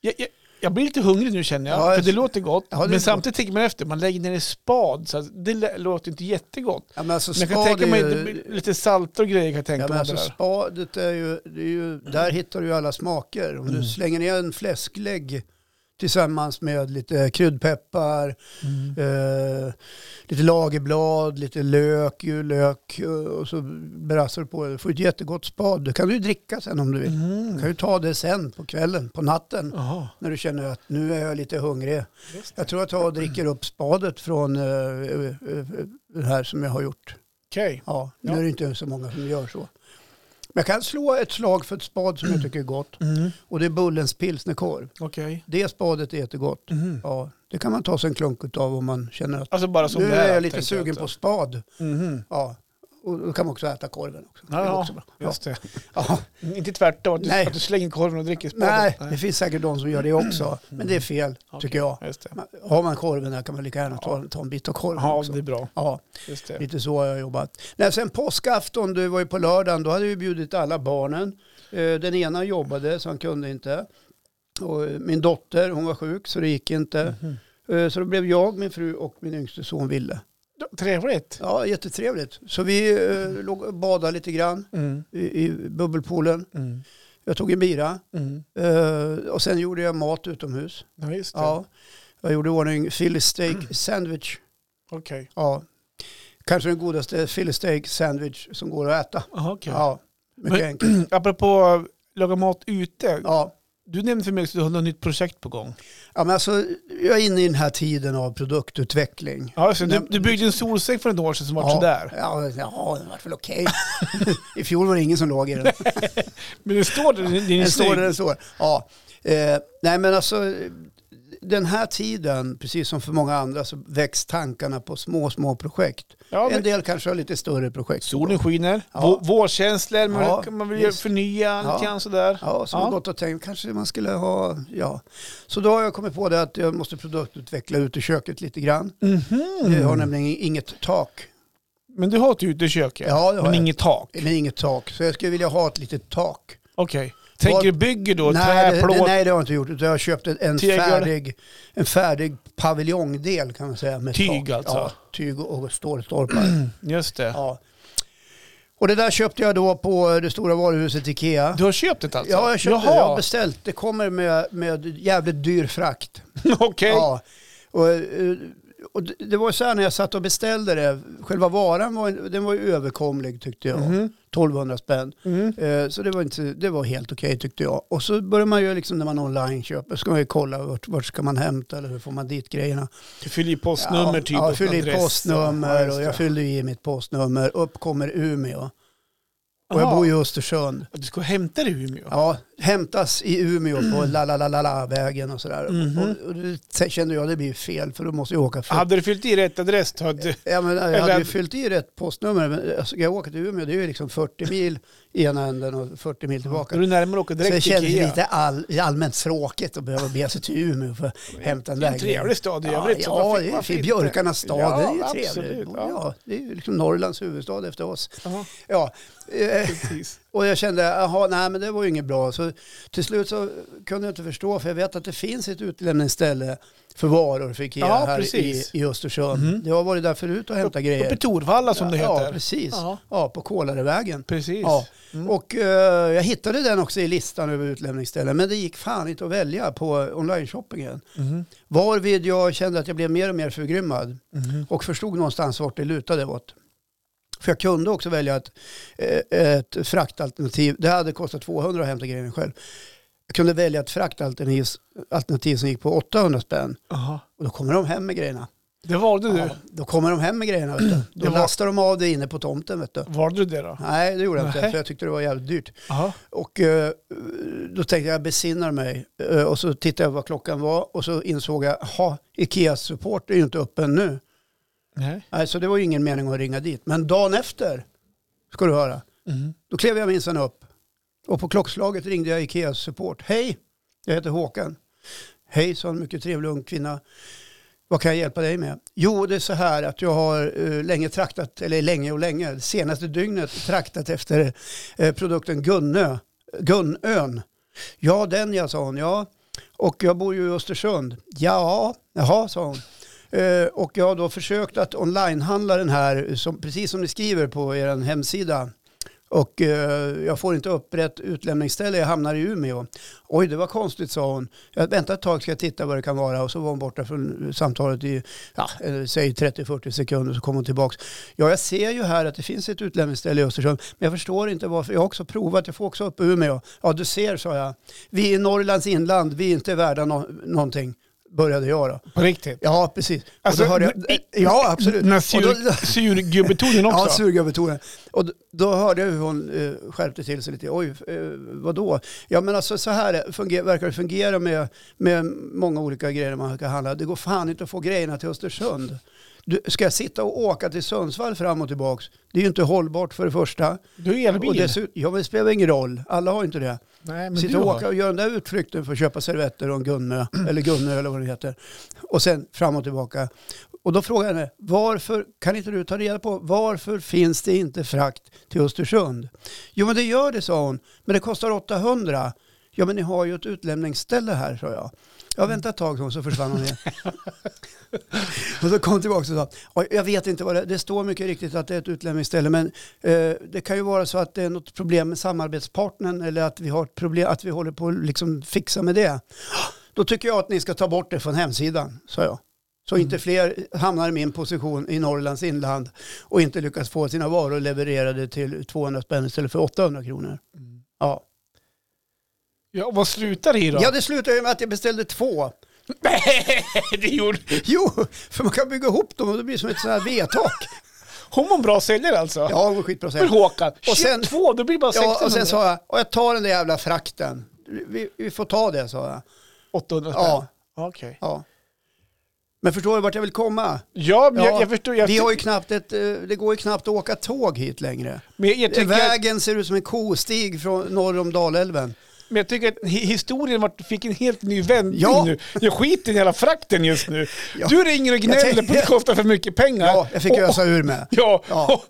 Jag, jag, Jag blir lite hungrig nu känner jag,
Ja,
för det
jag-
låter gott.
Ja, det är
men
gott.
samtidigt tänker man efter, man lägger ner i spad, så att det lä- låter inte jättegott.
Ja, men alltså
Men jag kan
spad
tänka mig
är
det
ju-
blir lite salter och grejer kan jag tänka
Ja,
mig.
men alltså
där.
spadet är ju, det är ju,
Mm.
där hittar du ju alla smaker. Om du slänger ner en fläsklägg tillsammans med lite kryddpeppar,
Mm.
eh, lite lagerblad, lite lök, ju lök eh, och så brassar du på det. Du får ett jättegott spad. Det kan du ju dricka sen om du vill. Du Mm. kan ju ta det sen på kvällen, på natten,
Mm. Jaha,
när du känner att nu är jag lite hungrig.
just det.
Jag tror jag tar och dricker upp spadet från eh, eh, eh, det här som jag har gjort.
Okej.
Ja, nu
Ja.
är det inte så många som gör så. Men jag kan slå ett slag för ett spad som
<clears throat>
jag tycker är gott.
Mm.
Och det är Bullens pilsnerkorv.
Okej.
Det spadet är jättegott.
Mhm.
Ja, det kan man ta sig en klunk av om man känner att
Alltså bara som
nu
det
är jag lite
tänker
sugen på
också.
spad.
Mhm.
Ja, och då kan man också äta korven också. Det är
Ja,
också bra. Ja.
Just det.
Ja.
Inte tvärtom, att du,
Nej.
att du slänger korven och dricker spaden.
Nej, det finns säkert de som gör det också.
<clears throat>
Men det är fel,
Okej,
tycker jag.
Just det.
Man- Har man korven där kan man lika gärna ta, ta en bit av korven
Ja,
också.
det är bra.
Ja.
Just det.
Lite så har jag jobbat. Nej, sen påskafton, du var ju på lördagen, då hade vi bjudit alla barnen. Eh, Den ena jobbade så han kunde inte. Och eh, min dotter, hon var sjuk så det gick inte.
Mhm.
Eh, Så då blev jag, min fru och min yngste son Ville.
Ja, Trevligt.
Ja, jättetrevligt. Så vi eh, låg och badade lite grann
Mm.
i, i bubbelpoolen.
Mm.
Jag tog en bira
Mm.
eh, och sen gjorde jag mat utomhus.
Ja, just det.
Ja, jag gjorde i ordning Philly steak sandwich.
Okej.
Ja. Kanske den godaste Philly steak sandwich som går att äta.
Aha, okej.
Ja, mycket
Men- <clears throat>
enkelt.
Apropå laga mat ute.
Ja.
Du nämnde för mig att du har något nytt projekt på gång.
Ja, men alltså, jag är inne i den här tiden av produktutveckling.
Ja, alltså, du, du byggde en solsäck för några år sedan som var
ja.
sådär.
Ja, ja, den vart väl okej. <laughs> I fjol var det ingen som
<laughs>
låg i den.
Men den står där, den, den är
Den
snygg.
står där den står. Ja. Eh, nej, men alltså den här tiden, precis som för många andra, så väcks tankarna på små, små projekt.
Ja, men,
En del kanske har lite större projekt.
solen skiner,
Ja.
vå- vårkänslor, man,
Ja,
man vill
visst.
förnya
Ja.
lite grann sådär.
Ja, som
Ja.
har gått och tänkt kanske man skulle ha, ja. Så då har jag kommit på det att jag måste produktutveckla ut i köket lite grann.
Mhm.
Jag har nämligen inget tak.
Men du har ett utekök ja.
Ja, det har
men
jag.
inget tak.
Men inget tak. Så jag skulle vilja ha ett litet tak.
Okej. Tänker du bygger då?
nej,
trä,
det,
plåt?
det, nej, det har jag inte gjort. Utan jag har köpt en, en,
Tegel.
färdig, en färdig paviljongdel kan man säga. Med
Tyg
tak.
alltså?
Ja, tyg och
<clears throat>
och stålstolpar.
Just det.
ja. Och det där köpte jag då på det stora varuhuset Ikea.
Du har köpt det alltså?
Ja, jag köpte det. Jag har
Jaha.
beställt. Det kommer med, med jävligt dyr frakt.
<laughs> Okej.
Ja. Och, eh, och det- det var så här när jag satt och beställde det. Själva varan var, den var ju överkomlig tyckte jag.
Mhm.
1200 spänn.
Mm.
Eh, Så det var, inte, det var helt okej tyckte jag. Och så börjar man ju liksom när man online köper, ska man ju kolla vart, vart ska man hämta eller hur får man dit grejerna.
Du fyller i postnummer
ja,
typ.
ja,
och
jag fyllde i
adress. Ja,
postnummer
just
och
det.
jag fyllde i mitt postnummer. Upp kommer Umeå. Och jag
Aha.
bor ju i Östersund.
Du ska hämta det i Umeå?
Ja, hämtas i Umeå på la la la la la vägen och sådär.
Mm. Mhm.
Och, och det kände jag det blir fel för då måste jag åka. För,
Hade du fyllt i rätt adress då hade...
ja, men, jag hade
eller-
ju fyllt i rätt postnummer men alltså, ska jag åka till Umeå det är ju liksom 40 mil i ena änden och 40 mil tillbaka.
Då är du närmare att åka
Så det
direkt till
kändes
Ikea.
lite all, allmänt tråkigt att behöva bege sig till
<laughs>
Umeå för att hämta en
Det är en
lägenhet.
trevlig stad i
Ja,
övrigt. så
ja
varför-
det är
varför
fin.
inte?
Björkarnas stad,
Ja,
det är ju
absolut,
trevligt.
ja.
Ja. det är ju liksom Norrlands huvudstad efter oss.
Ja,
Ja, eh,
precis.
och jag kände, jaha, nej men det var ju inget bra. Så till slut så kunde jag inte förstå, för jag vet att det finns ett utlämningsställe för varor för Ikea
Ja,
här i,
precis.
i Östersund. Jag har varit där förut och hämtat
Uppe i
grejer.
Torvalla som det
Ja,
heter.
precis.
Ja.
Ja, på Kålarevägen.
Precis.
Ja.
Mm.
Och eh, jag hittade den också i listan över utlämningsställen, men det gick fan inte att välja på online-shoppingen.
Mhm.
Varvid jag kände att jag blev mer och mer förgrymmad
Mhm.
och förstod någonstans vart det lutade åt. För jag kunde också välja ett, eh, ett fraktalternativ. Det hade kostat 200 att hämta grejerna själv. Jag kunde välja ett fraktalternativ alternativ som gick på 800 spänn.
Jaha.
Och då kommer de hem med grejerna.
Det valde du.
Ja, då kommer de hem med grejerna. Vet du. Då
Det var-
lastar de av det inne på tomten. Vet du.
Valde du det då?
Nej, det gjorde jag inte.
Nej.
För jag tyckte det var jävligt dyrt.
Jaha.
Och eh, då tänkte jag, jag besinnar mig. Eh, och så tittade jag vad klockan var och så insåg jag, ha Ikeas support är ju inte öppen nu.
Nej.
Nej, så det var ju ingen mening att ringa dit. Men dagen efter, ska du höra,
Mhm.
då klev jag minsann upp. Och på klockslaget ringde jag Ikeas support. Hej, jag heter Håkan. Hej, sa en mycket trevlig ung kvinna. Vad kan jag hjälpa dig med? Jo, det är så här att jag har eh, länge traktat, eller länge och länge, det senaste dygnet traktat efter eh, produkten Gunnö, Gunnön. Ja, den jag sa hon, ja. Och jag bor ju i Östersund. Ja, jaha, sa hon. Eh, och jag har då försökt att onlinehandla den här, som, precis som ni skriver på er hemsida. Och eh, jag får inte upp rätt utlämningsställe, jag hamnar i Umeå. Oj, det var konstigt, sa hon. Jag väntar ett tag, ska jag titta vad det kan vara. Och så var hon borta från samtalet i, ja, eh, säg 30-40 sekunder, så kom hon tillbaka. Ja, jag ser ju här att det finns ett utlämningsställe i Östersund, men jag förstår inte varför. Jag har också provat, jag får också upp i Umeå. Ja, du ser, sa jag. Vi är i Norrlands inland, vi är inte värda no- någonting, började jag då.
På riktigt?
Ja, precis.
Alltså,
och då hörde
i-
jag, ja, absolut.
Den här
Och då-
sur, surgubbetonen
Ja,
också?
surgubbetonen. Och då, då hörde jag hur hon eh, skärpte till sig lite. Oj, eh, vadå? Ja, men alltså så här är- funger- verkar det fungera med, med många olika grejer man kan handla. Det går fan inte att få grejerna till Östersund. Du, ska jag sitta och åka till Sundsvall fram och tillbaka? Det är ju inte hållbart för det första.
du är
Och
elbil?
dessutom, ja, men det spelar ingen roll. Alla har ju inte det.
Nej, men
Sitta
du
och
har.
åka och göra den där utflykten för att köpa servetter och en gunne, eller gunne eller vad det heter. Och sen fram och tillbaka. Och då frågar jag henne, varför kan inte du ta reda på varför finns det inte frakt till Östersund? Jo men det gör det sa hon, men det kostar 800. Ja men ni har ju ett utlämningsställe här sa jag. Jag väntade ett tag sa hon, så försvann hon igen. <laughs> och så kom hon tillbaka och sa, "Oj, jag vet inte vad det är, det står mycket riktigt att det är ett utlämningsställe men Eh, det kan ju vara så att det är något problem med samarbetspartnern eller att vi, har ett problem, att vi håller på att liksom fixa med det. <gasps> Då tycker jag att ni ska ta bort det från hemsidan, sa jag. Så inte fler hamnar i min position i Norrlands inland och inte lyckas få sina varor levererade till 200 spänn istället för 800 kronor.
Mm.
Ja,
Ja, vad slutar det i då?
ja det slutade ju med att jag beställde två. <laughs>
<laughs> Nej, det gjorde...
Jo, för man kan bygga ihop dem och det blir som ett sånt här V-tak.
Hon var en bra säljare alltså?
Ja, det går skitbra
För
sen.
Håkan.
Och sen-
22, då blir det bara 1600.
Ja, och sen sa jag, och jag tar den där jävla frakten. Vi, vi får ta det, sa jag.
800 spänn.
Ja,
Okej.
Ja. Men förstår du vart jag vill komma?
Ja, men
Ja,
jag, jag förstår. Jag,
Vi har ju knappt ett, eh, det går ju knappt att åka tåg hit längre.
men jag, jag tycker att,
Vägen ser ut som en kostig från norr om Dalälven.
men jag tycker att hi- historien vart, fick en helt ny vändning
Ja.
nu. Jag skiter i hela frakten just nu.
Ja.
Du ringer och
Jag
gnäller
tänkte-
på att det kostar för mycket pengar.
Ja, jag fick
Och-
ösa ur med.
Ja,
Ja.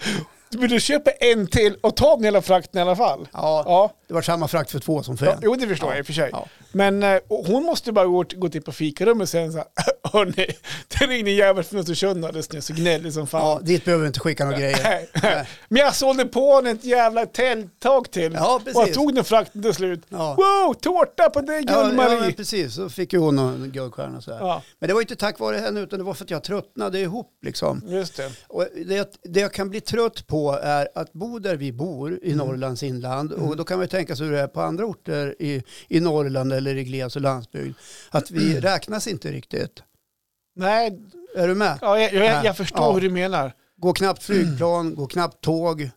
<laughs> men du köper en till och tar den hela frakten i alla fall.
Ja,
Ja.
det var samma frakt för två som för
Ja,
en.
jo, det förstår jag i och för sig.
Ja.
Men eh, och hon måste bara gå, gå till på fikarummet och säga så här, <laughs> hörni, det ringde en jävel från Östersund alldeles nyss och gnällde som liksom fan.
Ja, dit behöver vi inte skicka några grejer.
<laughs> Nej, nej. Men jag sålde på honom ett jävla tälttag till.
Ja,
och jag
precis.
tog den frakten till slut.
Ja.
Wow, tårta på dig
Ja, ja,
Gull-Marie.
men precis. Så fick ju hon en guldstjärna så här.
Ja.
Men det var ju inte tack vare henne utan det var för att jag tröttnade ihop liksom.
Just det.
Och det, det jag kan bli trött på är att bo där vi bor i
Mm.
Norrlands inland och då kan man ju tänka sig hur det är på andra orter i, i Norrland eller i gles och landsbygd. Att vi
Mm.
räknas inte riktigt.
Nej,
Är du med?
ja, Mm. jag, jag,
Nej.
jag förstår
Ja.
hur du menar.
Går knappt flygplan, går knappt tåg,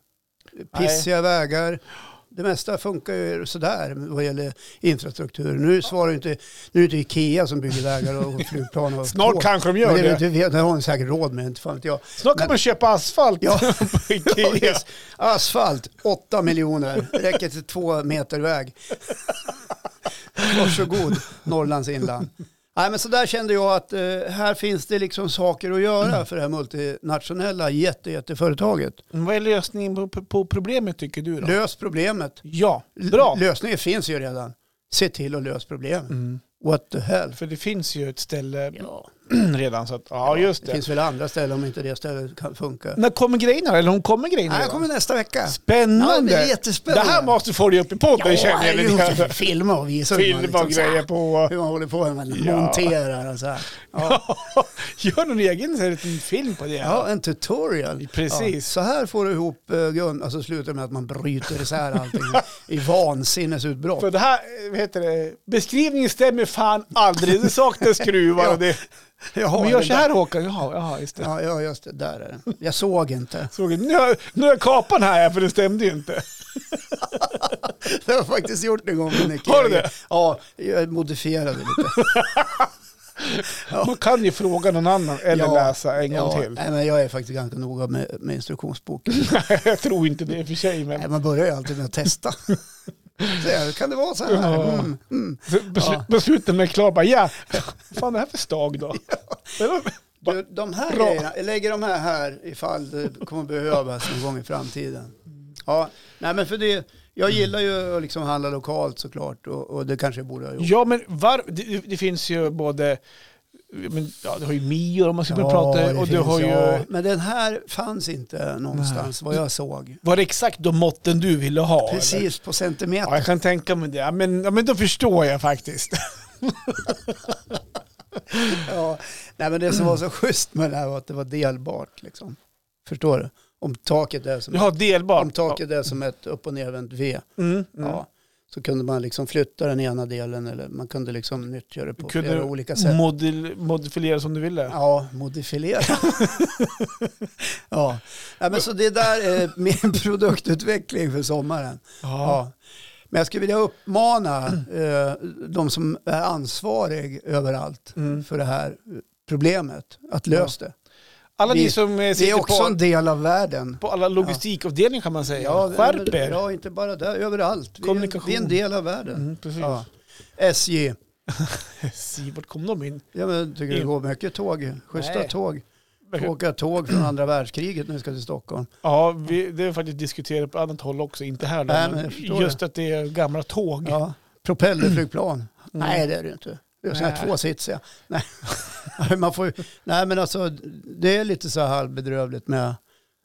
pissiga vägar. Det mesta funkar ju sådär vad gäller infrastruktur. Nu svarar ju inte, nu är det inte Ikea som bygger
<laughs>
vägar och flygplan och
Snart
tåg.
kanske de
Men
gör
det,
det.
det, det, det har de säkert råd med, inte fan vet jag.
Snart kan
Men-
man köpa asfalt
<laughs> Ja.
<laughs> på Ikea.
Yes. Asfalt, 8 miljoner. Räcker till två meter väg. Varsågod, Norrlands inland. Nej, men så där kände jag att eh, här finns det liksom saker att göra för det här multinationella jätte, jätteföretaget.
Men Vad är lösningen på, på, på problemet tycker du då?
Lös problemet.
ja,
L-
bra.
Lösningen finns ju redan. Se till att lösa problemet.
Mm.
What the hell?
För det finns ju ett ställe
Ja,
<clears throat> redan. Så att, ja, Mm. just
det
det.
finns väl andra ställen om inte det stället kan funka.
När kommer grejerna? Eller hon kommer grejerna?
Nej, jag
redan?
kommer nästa vecka. Ja,
Spännande.
det är jättespännande.
Det här måste du följa upp i podden känner jag lite grann.
jag.
<laughs>
Filma och visa hur man
Film och
liksom så här-
grejer på...
hur man håller på när man
Ja.
monterar och så här. Ja.
Gör någon egen så här liten film på det.
ja, en tutorial.
Precis.
Ja, så här får du ihop eh, grund, alltså slutar med att man bryter
<laughs>
isär allting i vansinnesutbrott.
För det här, eh, vad heter det, beskrivningen stämmer fan aldrig. Det saknas skruvar och det...
Jag
Men
den
gör så
där-
här Håkan. Jaha, jaha just det.
Ja, ja, just det. Där är den. Jag såg inte. <laughs>
Såg du? Nu har, nu har jag kapan här för det stämde ju inte.
Det har jag faktiskt gjort en gång. med Nicky.
Har du det?
Ja, jag modifierade lite.
Man kan ju fråga någon annan <laughs> eller
ja,
läsa en gång
ja,
till.
Nej, men jag är faktiskt ganska noga med, med instruktionsboken.
<laughs> jag tror inte det i och för sig men...
Nej, man börjar ju alltid med att testa. <laughs> Så här, kan det vara så
Ja.
här? Mm, mm.
Så Beslu-
Ja.
Besluten är klara. Bara, ja, vad fan är det här för stag
<laughs>
då? Eller-
Du, de här
Bra.
grejerna, jag lägger de här här ifall det kommer behövas någon gång i framtiden. Ja, nej men för det, jag gillar ju att liksom handla lokalt såklart och, och det kanske jag borde ha gjort.
Ja, men var, det, det finns ju både... Men, ja, du har ju Mio om man ska börja
det
prata. Och du
finns,
har ju...
ja. Men den här fanns inte någonstans vad jag såg.
Var det exakt de måtten du ville ha? eller?
Precis på
Ja,
centimeter.
jag kan tänka mig det. Ja, men, ja, men då förstår jag faktiskt.
Ja. Nej men det som var så schysst med det här var att det var delbart liksom. Förstår du? Om taket är som,
Du har delbart.
om taket är som ett upp och nervänt V.
Ja. Mm, mm.
Ja. Så kunde man liksom flytta den ena delen eller man kunde liksom nyttja det på
Kunde
flera olika sätt.
Model, modifiera som du ville.
Ja,
<laughs>
modifiera. <laughs> ja. ja, men så det där är min <laughs> produktutveckling för sommaren. Ja. Men jag skulle vilja uppmana eh, de som är ansvarig överallt
Mm.
för det här problemet att lösa det.
Alla
Vi-
ni som eh,
Det är
sitter
också en
på,
del av världen.
på alla logistikavdelningar kan man säga. Skärp er.
Ja, inte bara där, överallt. Vi är, en-
Kommunikation.
vi är en del av världen.
Mm, precis.
Ja. SJ,
Se, Vart kom de in?
jag men, tycker det
In-
går mycket tåg, schyssta
Nej.
tåg. Får åka tåg från andra världskriget när vi ska till Stockholm.
Ja, vi, det har vi faktiskt diskuterat på annat håll också, inte här. Då,
Nej,
men
men jag förstår
just att det är gamla tåg.
Ja. Propellerflygplan. Nej, det är det inte. Det är sådana
Mm. Nej.
här tvåsitsiga. Nej. <laughs> Man får, ju- nej, men alltså det är lite så här halvbedrövligt med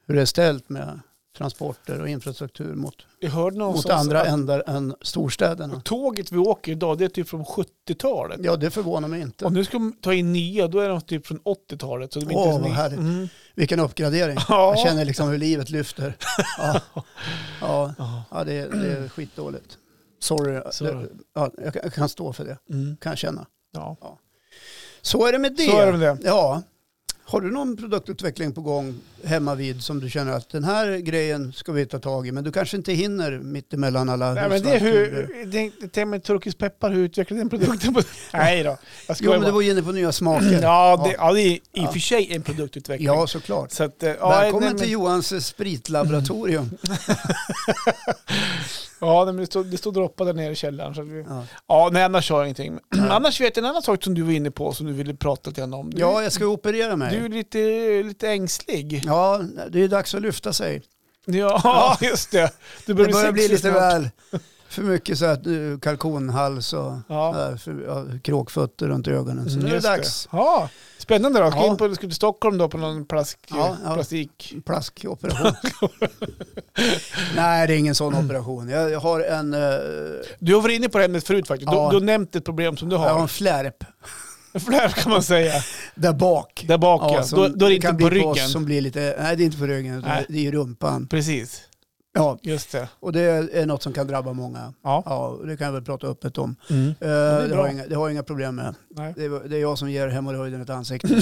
hur det är ställt med transporter och infrastruktur mot,
Jag hörde
mot
någonstans
andra
att
ändar än storstäderna.
tåget vi åker idag, det är typ från 70-talet.
Ja, det förvånar mig
Om
inte.
nu ska de ta in nya, då är de typ från 80-talet. Så de är
Åh,
inte
vad
ens
härligt.
nya. Mm.
Vilken uppgradering.
<laughs> Ja.
Jag känner liksom hur
<laughs>
livet lyfter. Ja, ja.
Ja.
ja det, är, det
<clears throat>
är skitdåligt. Sorry.
Sorry.
Ja, jag, kan, jag kan stå för det,
Mm.
kan jag känna.
Ja.
Så är det med det.
Så är det med det.
Ja. Har du någon produktutveckling på gång hemma vid som du känner att den här grejen ska vi ta tag i men du kanske inte hinner mitt emellan alla
Nej, men det är
husvallsturer?
hur, det, det är med turkisk peppar, hur utvecklar den produkten?
<laughs>
På, nej då, jag
Jo
skojar
men du
bara.
var ju inne på nya smaker.
Ja, det, ja, det är i och
Ja.
för sig en produktutveckling.
Ja, såklart.
Så att, eh, ja,
Välkommen
nej, men-
till Johans
<laughs>
eh, spritlaboratorium.
Ja, nej, men det stod, det stod droppar där nere i källaren. Så att vi,
Ja.
ja, nej, annars har jag ingenting. <clears throat>
Nej.
Annars vet jag en annan sak som du var inne på som du ville prata lite grann om. Du,
ja, jag ska operera
du
mig.
är lite, lite ängslig.
Ja, det är dags att lyfta sig.
Ja,
<laughs> Ja.
<laughs> just det. Du
Det börjar bli
sexig
lite
snart.
väl för mycket så att nu kalkonhals och
Ja.
äh, för, ja, kråkfötter runt ögonen. Så
Mm,
nu är det
just
dags.
Ja. Spännande då. Ska
Ja.
in på, ska till Stockholm då på någon plask,
Ja, ja.
plastik...
plaskoperation. <laughs> Nej, det är ingen sån operation. Jag jag har en, eh,
Du har varit inne på det här ämnet förut faktiskt.
Ja.
Du, du har nämnt ett problem som du
jag har en
har.
flärp
<laughs> För det här kan man säga.
där bak.
Där bak ja.
som
Då, då är det
kan
inte på
bli
ryggen.
oss Som blir lite, nej, det är inte på ryggen, utan
Nej.
det är i rumpan.
Precis,
Ja,
just det.
och det är något som kan drabba många.
Ja.
Ja, och det kan jag väl prata öppet om.
Mm.
Eh,
är
det,
bra.
har jag inga, det har jag inga problem med.
Nej.
Det är, det är jag som ger hemorrojden ett ansikte.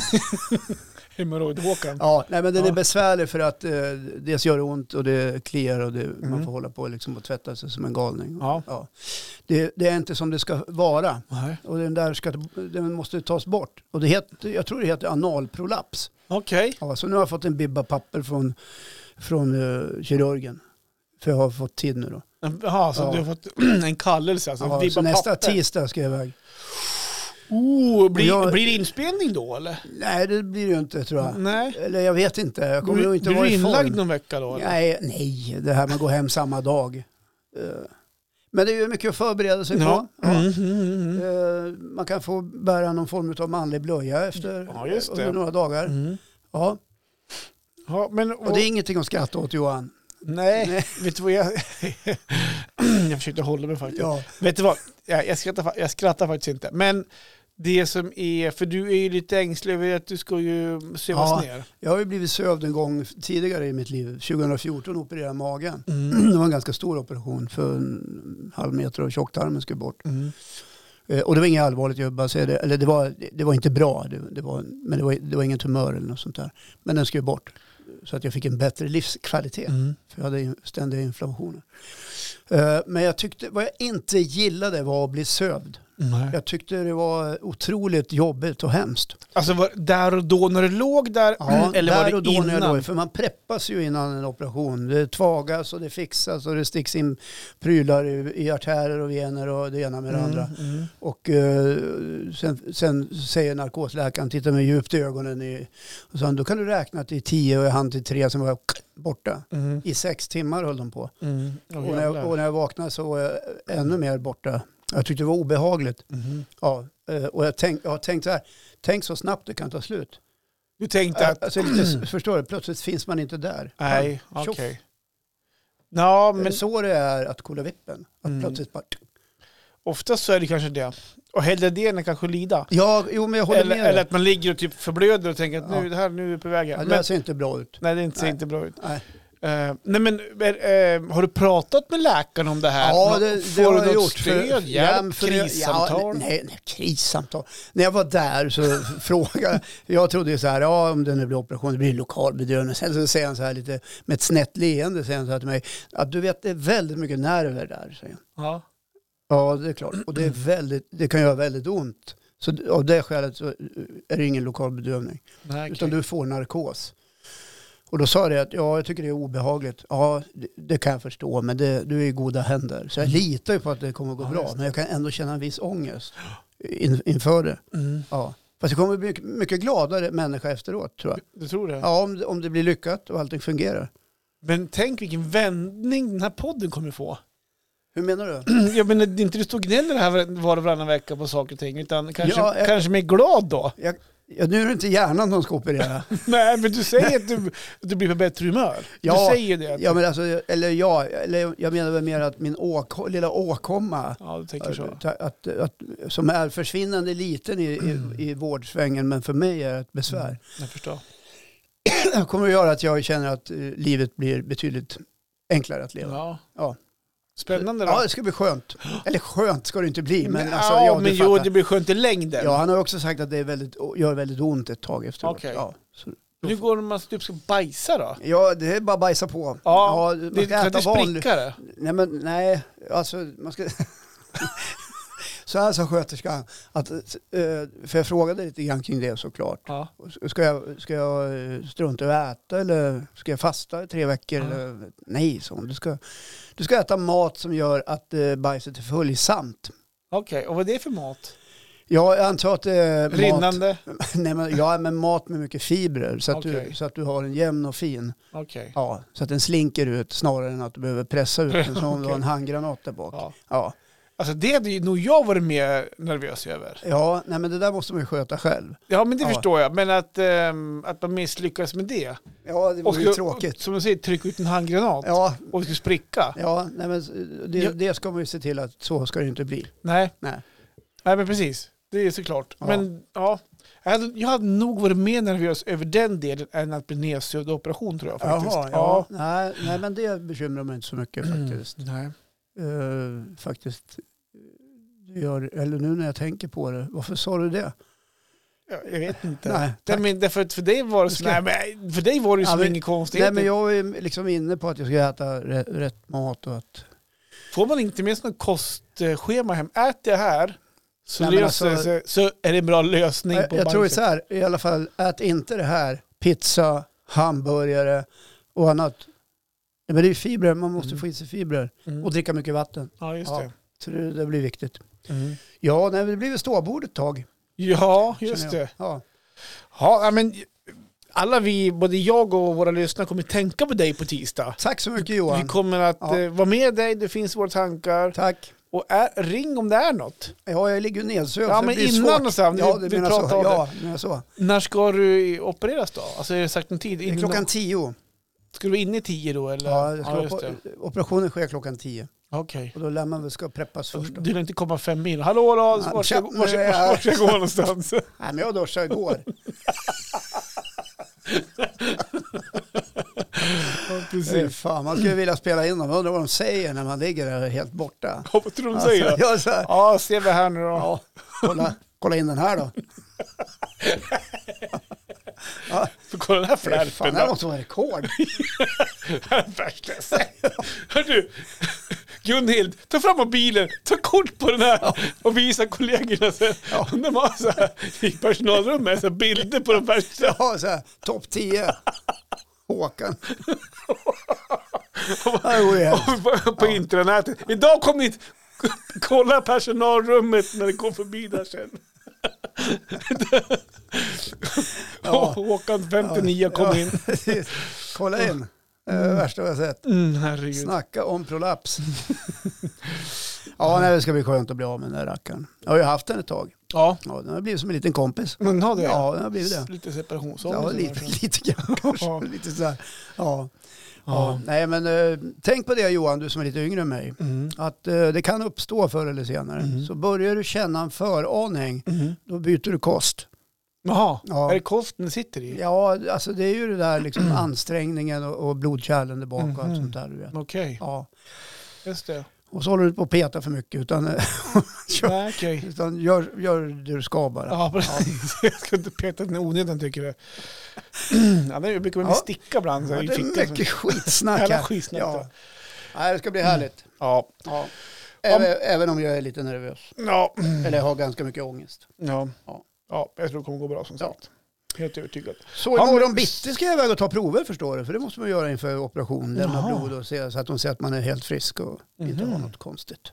Hemorrojdhåkan.
ja, nej, men den
Ja.
är besvärlig för att eh, dels gör det ont och det kliar och det,
Mm.
man får hålla på liksom och tvätta sig som en galning.
Ja.
Det, det är inte som det ska vara.
Nej.
Och den där ska, den måste tas bort. Och det heter, jag tror det heter analprolaps.
Okej.
Ja, så nu har jag fått en bibba papper från, från eh, kirurgen. För jag har fått tid nu då.
Jaha, så
Ja.
du har fått <clears throat> en kallelse alltså.
Ja,
vibba
så nästa
papper.
tisdag ska jag iväg.
Oh, blir,
Jag-
blir det inspelning då eller?
Nej, det blir det ju inte tror jag.
Nej.
Eller jag vet inte. Jag kommer nog
Blir,
inte
blir
vara
Mm. du
i
inlagd
form.
någon vecka då? Eller?
Nej, nej, det här med att gå hem samma dag. Eh, Men det är ju mycket att förbereda sig
Ja.
på. Ja.
Mm, mm, mm, mm.
Eh, Man kan få bära någon form av manlig blöja efter
Ja, just det.
under några dagar.
Mm.
Ja.
Ja, men, och,
Och det är ingenting att skratta åt Johan.
nej, vet du vad jag... <clears throat> jag försökte hålla mig faktiskt.
Ja.
Vet du vad, jag, jag, skrattar, fa- jag skrattar faktiskt inte. Men det som är, för du är ju lite ängslig över att du ska ju sövas
Ja.
ner.
Jag har ju blivit sövd en gång tidigare i mitt liv. 2014 opererade jag magen. <clears throat>
Mm.
Det var en ganska stor operation för en halv meter och tjocktarmen skulle bort.
Mm.
Eh, och det var inget allvarligt, jag vill bara säga det. Eller det var, det var inte bra, det, det var, men det var, det var ingen tumör eller något sånt där. Men den skulle bort. Så att jag fick en bättre livskvalitet.
Mm.
För jag hade ju ständiga inflammationer. Eh, men jag tyckte, vad jag inte gillade var att bli sövd.
Nej.
Jag tyckte det var otroligt jobbigt och hemskt.
Alltså var, där och då när du låg där?
Ja,
Mm. eller
där
var det
och då
innan?
när jag låg, för man preppas ju innan en operation. Det tvagas och det fixas och det sticks in prylar i, i artärer och vener och det ena med det andra.
Mm, mm.
Och eh, sen, sen säger narkosläkaren, tittar mig djupt i ögonen i, och sa, då kan du räkna till tio och jag hann till tre, sen var jag borta.
Mm,
I sex timmar höll de på.
mm. Åh,
Och när, jag,
jävlar.
och när jag vaknade så var jag ännu mer borta. Jag tyckte det var obehagligt.
Mhm.
Ja, eh, och jag, tänk, jag har tänkt så här, tänk så snabbt det kan ta slut.
Du tänkte att,
Alltså, lite, förstår du, plötsligt finns man inte där.
nej,
Ja,
okej.
Äh, tjoff.
Ja,
Det är
men
så det är att kolla vippen. Att
Mm.
plötsligt bara...
oftast så är det kanske det. Och hellre det än att kanske lida.
Ja, jo men jag håller
Eller,
med
eller
dig.
att man ligger och typ förblöder och tänker att
Ja.
nu, det här, nu är vi på väg här.
Ja,
Men,
det ser inte bra ut.
nej, det inte- ser
Nej.
inte bra ut.
Nej.
Eh, nej men, eh, eh, har du pratat med läkaren om det här?
Ja,
Nå-
det, det
Får
har
du
jag
något
gjort.
stöd,
För- ja, men
hjälp,
för- Ja,
krissamtal?
nej, nej, krissamtal. När jag var där så <laughs> frågade jag, trodde ju så här, ja om det nu blir operation, det blir lokal bedövning. Sen så säger han så här lite, med ett snett leende, säger han så här till mig, att du vet det är väldigt mycket nerver där. Säger han.
ja.
Ja, det är klart. Och det, är väldigt, det kan göra väldigt ont. Så d- av det skälet så är det ingen lokal bedövning.
Nej, okej.
Utan du får narkos. Och då sa jag att ja, jag tycker det är obehagligt. Ja, det, det kan jag förstå, men det, du är i goda händer. Så jag litar ju på att det kommer att gå
Mm. Ja,
bra.
just det.
Men jag kan ändå känna en viss ångest in, inför det.
Mm.
Ja. Fast jag kommer bli mycket- mycket gladare människa efteråt, tror jag.
Du tror det?
Ja, om, det- om det blir lyckat och allting fungerar.
Men tänk vilken vändning den här podden kommer få.
Hur menar du?
<clears throat> Jag menar, det är inte du står och gnäller här var och varannan vecka på saker och ting, utan kanske,
Ja, eh.
kanske mer glad då? <laughs>
Ja, nu är det inte hjärnan som ska operera.
Nej, men du säger att du, du blir på bättre humör.
Ja,
du säger det.
Ja, men alltså, eller ja, eller jag menar väl mer att min åk, lilla åkomma,
Ja, du tänker så.
att, att, att, som är försvinnande liten i, i, i vårdsvängen, men för mig är ett besvär,
Jag förstår.
kommer att göra att jag känner att eh, livet blir betydligt enklare att leva.
Ja.
Ja.
Spännande då.
Ja, det ska bli skönt. Eller skönt ska det inte bli, men alltså,
ja,
ja, du
men jo,
fattar.
det blir skönt i längden.
Ja, han har också sagt att det är väldigt, gör väldigt ont ett tag efteråt.
Okej.
Ja, så,
Men Hur går det om man typ ska bajsa då?
ja, det är bara att bajsa på.
Ja,
man
Det,
ska
för att
äta
det
vanlig-
sprickar det.
Nej, men nej, alltså man ska... <laughs> Så här sa sköterskan, att, eh, för jag frågade lite grann kring det såklart.
Ja.
Ska jag, ska jag eh, strunta i att äta eller ska jag fasta i tre veckor?
Ja.
Eller, nej, sa hon. Du ska, du ska äta mat som gör att eh, bajset är följsamt.
Okej, och vad är det för mat?
Ja, jag antar att det är mat,
Rinnande?
<laughs> nej, men, ja, men mat med mycket fibrer så att,
Okej.
du, så att du har en jämn och fin.
Okej.
Ja, så att den slinker ut snarare än att du behöver pressa ut den som om du
Okej.
<laughs> har en handgranat där bak.
Ja.
Ja.
Alltså det hade ju nog jag varit mer nervös över.
Ja, nej men det där måste man ju sköta själv.
Ja, men det
Ja.
förstår jag. Men att, ehm, att man misslyckas med det.
Ja, det vore ju
skulle-
tråkigt.
Som du säger, trycka ut en handgranat
Ja,
och skulle spricka.
ja nej men det,
Ja.
det ska man ju se till att så ska det ju inte bli.
Nej.
Nej.
Nej, men precis. Det är såklart.
Ja.
Men ja, jag hade, jag hade nog varit mer nervös över den delen än att bli nedsövd i operation tror jag faktiskt.
Jaha, ja. Nej, nej, men det bekymrar mig inte så mycket faktiskt.
Mm, nej.
Eh, faktiskt. Det gör, eller nu när jag tänker på det, varför sa du det?
Jag, jag vet inte.
Nej,
Nej,
tack.
men därför att för dig var det,
Jag
så,
ska-
nej, men, för dig var det ju
Ja,
som
men-
inget konstigt.
Nej, men jag är ju liksom inne på att jag ska äta rätt, rätt mat och att...
Får man inte med sig något kostschema hem, ät det här så,
Nej, men
löser,
alltså-
så, så är det en bra lösning
Jag,
på
jag tror ju
banken.
så här, i alla fall, ät inte det här. Pizza, hamburgare och annat. Nej, Men det är ju fibrer, man måste
Mm.
få i sig fibrer.
Mm.
Och dricka mycket vatten.
Ja, just
Ja.
det.
Så det, det blir viktigt.
Mm.
Ja, nej, det blir väl ståbord ett tag.
Ja,
känner
just
jag.
det.
Ja.
Ja, ja, men alla vi, både jag och våra lyssnare kommer tänka på dig på tisdag.
Tack så mycket
Vi
Johan.
kommer att
Ja.
eh, vara med dig, det finns våra tankar.
Tack.
Och är, ring om det är något.
Ja, jag ligger ju nedsövd.
Ja,
så det
men
blir
innan
svårt.
och sen,
Ja,
vi-
du
vi
menar så.
pratar om
Ja, du menar så.
När ska du opereras då? Alltså är det sagt någon tid?
Det är
Innan-
klockan tio.
Ska du vara inne i tio då? Eller?
Ja, jag ska
ja,
vara
just det.
på, operationen sker klockan tio.
Okej.
Och då lär man väl ska preppas först. Då.
Du vill inte komma fem mil. Hallå då,
Ja,
var ska,
tja,
var, ska,
nu är jag
var,
här.
ska jag gå
<laughs>
någonstans?
Nej, men jag
<laughs>
duschade igår. Fy
Precis.
Fan, man skulle vilja spela in dem. Jag undrar vad de säger när man ligger där helt borta. Alltså,
Ja, vad tror du de säger? då?
<laughs> ja, så här,
Ja, ser vi här nu då.
ja, kolla, kolla in
<laughs>
den här då.
För kolla den här
Fy
flärpen
Fan, det här
då.
måste vara rekord.
Värdelös. Hör du, Gunhild, ta fram mobilen, ta kort på den här och visa kollegorna sen.
Ja.
De har så här, i personalrummet så här, bilder på de värsta.
Ja, så här,
<laughs>
topp 10. Håkan. Ja, det
<laughs>
vore hemskt.
på, på intranätet. Idag kom hit, kolla personalrummet när det går förbi där sen.
Ja.
Håkan 59 kom
Ja,
in.
<laughs> precis. Kolla in. Det är det värsta jag har sett.
Mm, herregud.
Snacka
<laughs>
om prolaps. ja, nej, det ska bli skönt att bli av med den där rackaren. Jag har ju haft den ett tag.
Ja,
Ja, den har blivit som en liten kompis.
men har det?
Ja, den har blivit det.
Lite separationsångest.
Ja, lite, lite
<laughs>
grann
Ja.
kanske. Lite så här. Ja.
Ja.
Ja. Nej, men eh, tänk på det Johan, du som är lite yngre än mig.
Mm.
Att eh, det kan uppstå förr eller senare.
Mm.
Så börjar du känna en föraning,
Mm.
då byter du kost.
Jaha,
Ja.
är det kosten det sitter i?
Ja, alltså det är ju det där
<clears throat>
liksom ansträngningen och, och blodkärlen där bak och allt
Mhm.
sånt där du vet.
Okej,
Ja.
just det.
Och så håller du inte på att peta för mycket utan, <laughs> eh, Kör.
Nej, okej.
utan gör, gör det du ska bara.
Ja, precis. <laughs> Jag ska inte peta den i onödan tycker jag. <clears throat> Ja, det brukar man
Ja.
sticka ibland. Så
Ja,
här, i
det är
fickan.
mycket skitsnack
Jävla
här.
skitsnack.
Ja.
Ja. Mm.
Nej, det ska bli härligt.
Ja.
Ja. Även, även om jag är lite nervös.
Ja.
Eller har ganska mycket ångest.
Ja.
Ja.
ja, jag tror det kommer gå bra som
Ja.
sagt. Helt övertygad.
Så
Ja, men-
imorgon bitti ska jag iväg och ta prover förstår du. För det måste man göra inför operation. Lämna
Jaha.
blod och se så att de ser att man är helt frisk och inte
Mhm.
har något konstigt.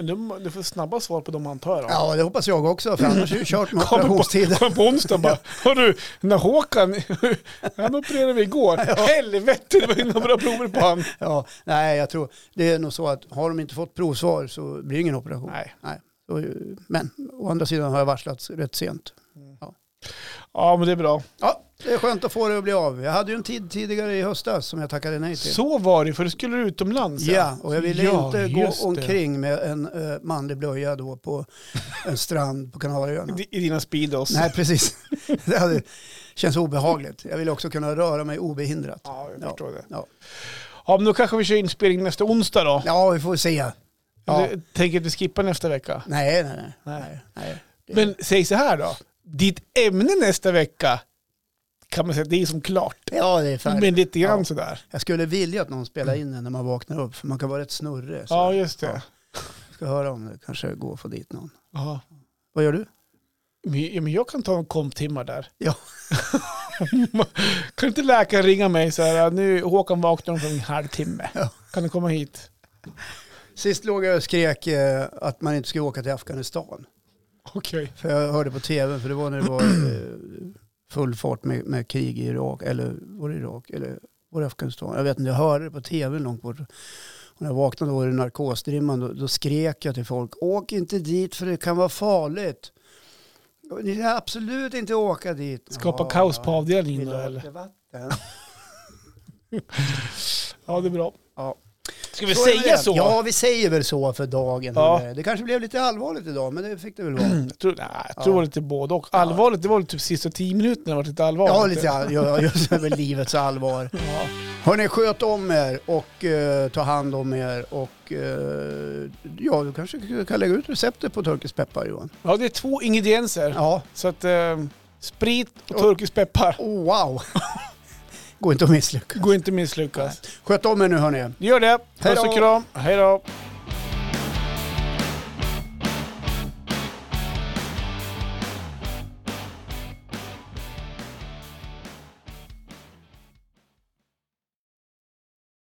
Men du, du får snabba svar på dem antar jag. då.
Ja, det hoppas jag också. För annars är det kört med
<laughs> Kommer
operationstiden.
Kom på onsdag
<laughs>
bara, hörru, den där Håkan, <laughs> han opererade vi igår. Helvete, det var inga bra prover på
<laughs>
han.
Ja, nej, jag tror det är nog så att har de inte fått provsvar så blir det ingen operation.
Nej.
Så, men å andra sidan har jag varslats rätt sent.
Ja, men det är bra.
Ja, det är skönt att få det att bli av. Jag hade ju en tid tidigare i höstas som jag tackade nej till.
Så var det, för du skulle utomlands.
Ja, och jag ville
Ja,
inte gå
just det.
omkring med en eh, manlig blöja
<laughs>
då på en strand på Kanarieöarna.
I- I dina speedos.
Nej, precis. <laughs> Det hade, känns obehagligt. Jag vill också kunna röra mig obehindrat.
Ja, jag
Ja.
förstår det.
Ja,
Ja, men då kanske vi kör inspelning nästa onsdag då.
ja vi får se. Ja.
Eller, Tänker att vi skippar nästa vecka.
Nej, nej, nej.
Nej.
nej, nej. Det-
Men säg så här då. Ditt ämne nästa vecka kan man säga det är som klart.
Ja, det är färdigt.
Men lite grann
Ja.
sådär.
Jag skulle vilja att någon spelar in den när man vaknar upp, för man kan vara rätt snurrig. Så
Ja, just det.
Mm. Ja. jag ska höra om det kanske går att få dit någon.
Ja.
Vad gör du?
Men ja, men jag kan ta en komptimmar där.
Ja.
<laughs> kan inte läkaren ringa mig så här, nu Håkan vaknar om en halvtimme.
Ja.
Kan du komma hit?
Sist låg jag och skrek eh, att man inte skulle åka till Afghanistan.
Okej.
För jag hörde på tv, för det var när det var eh, full fart med, med krig i Irak, eller var det Irak, eller var det Afghanistan? Jag vet inte, jag hörde det på tv långt bort. Och när jag vaknade då i narkosdrimman, då, då skrek jag till folk, åk inte dit för det kan vara farligt. Och Ni ska absolut inte åka dit.
Skapa
Ja,
kaos
ja.
på avdelningen
Vill
då
du ha
eller?
lite vatten?
<laughs> Ja, det är bra.
Ja.
Ska vi
Så är det
säga
väl.
så?
Ja, vi säger väl så för dagen.
Ja. Mm.
Det kanske blev lite allvarligt idag, men det fick det väl
<clears throat>
vara.
Jag tror, nej, jag tror
Ja.
det var lite både och. Allvarligt, det var väl typ sista tio minuterna var lite allvarligt.
Ja, lite all- ja, just över livets allvar.
Ja.
Hörni, sköt om er och eh, ta hand om er. Och eh, ja, du kanske kan lägga ut receptet på turkisk peppar Johan.
Ja, det är två ingredienser.
Ja,
Så att eh, sprit och turkisk peppar
oh, wow. <laughs> Går inte att misslyckas.
går inte att misslyckas.
Sköt om er nu hörni.
Gör det. Puss
Hej
och
då.
kram. Hej då.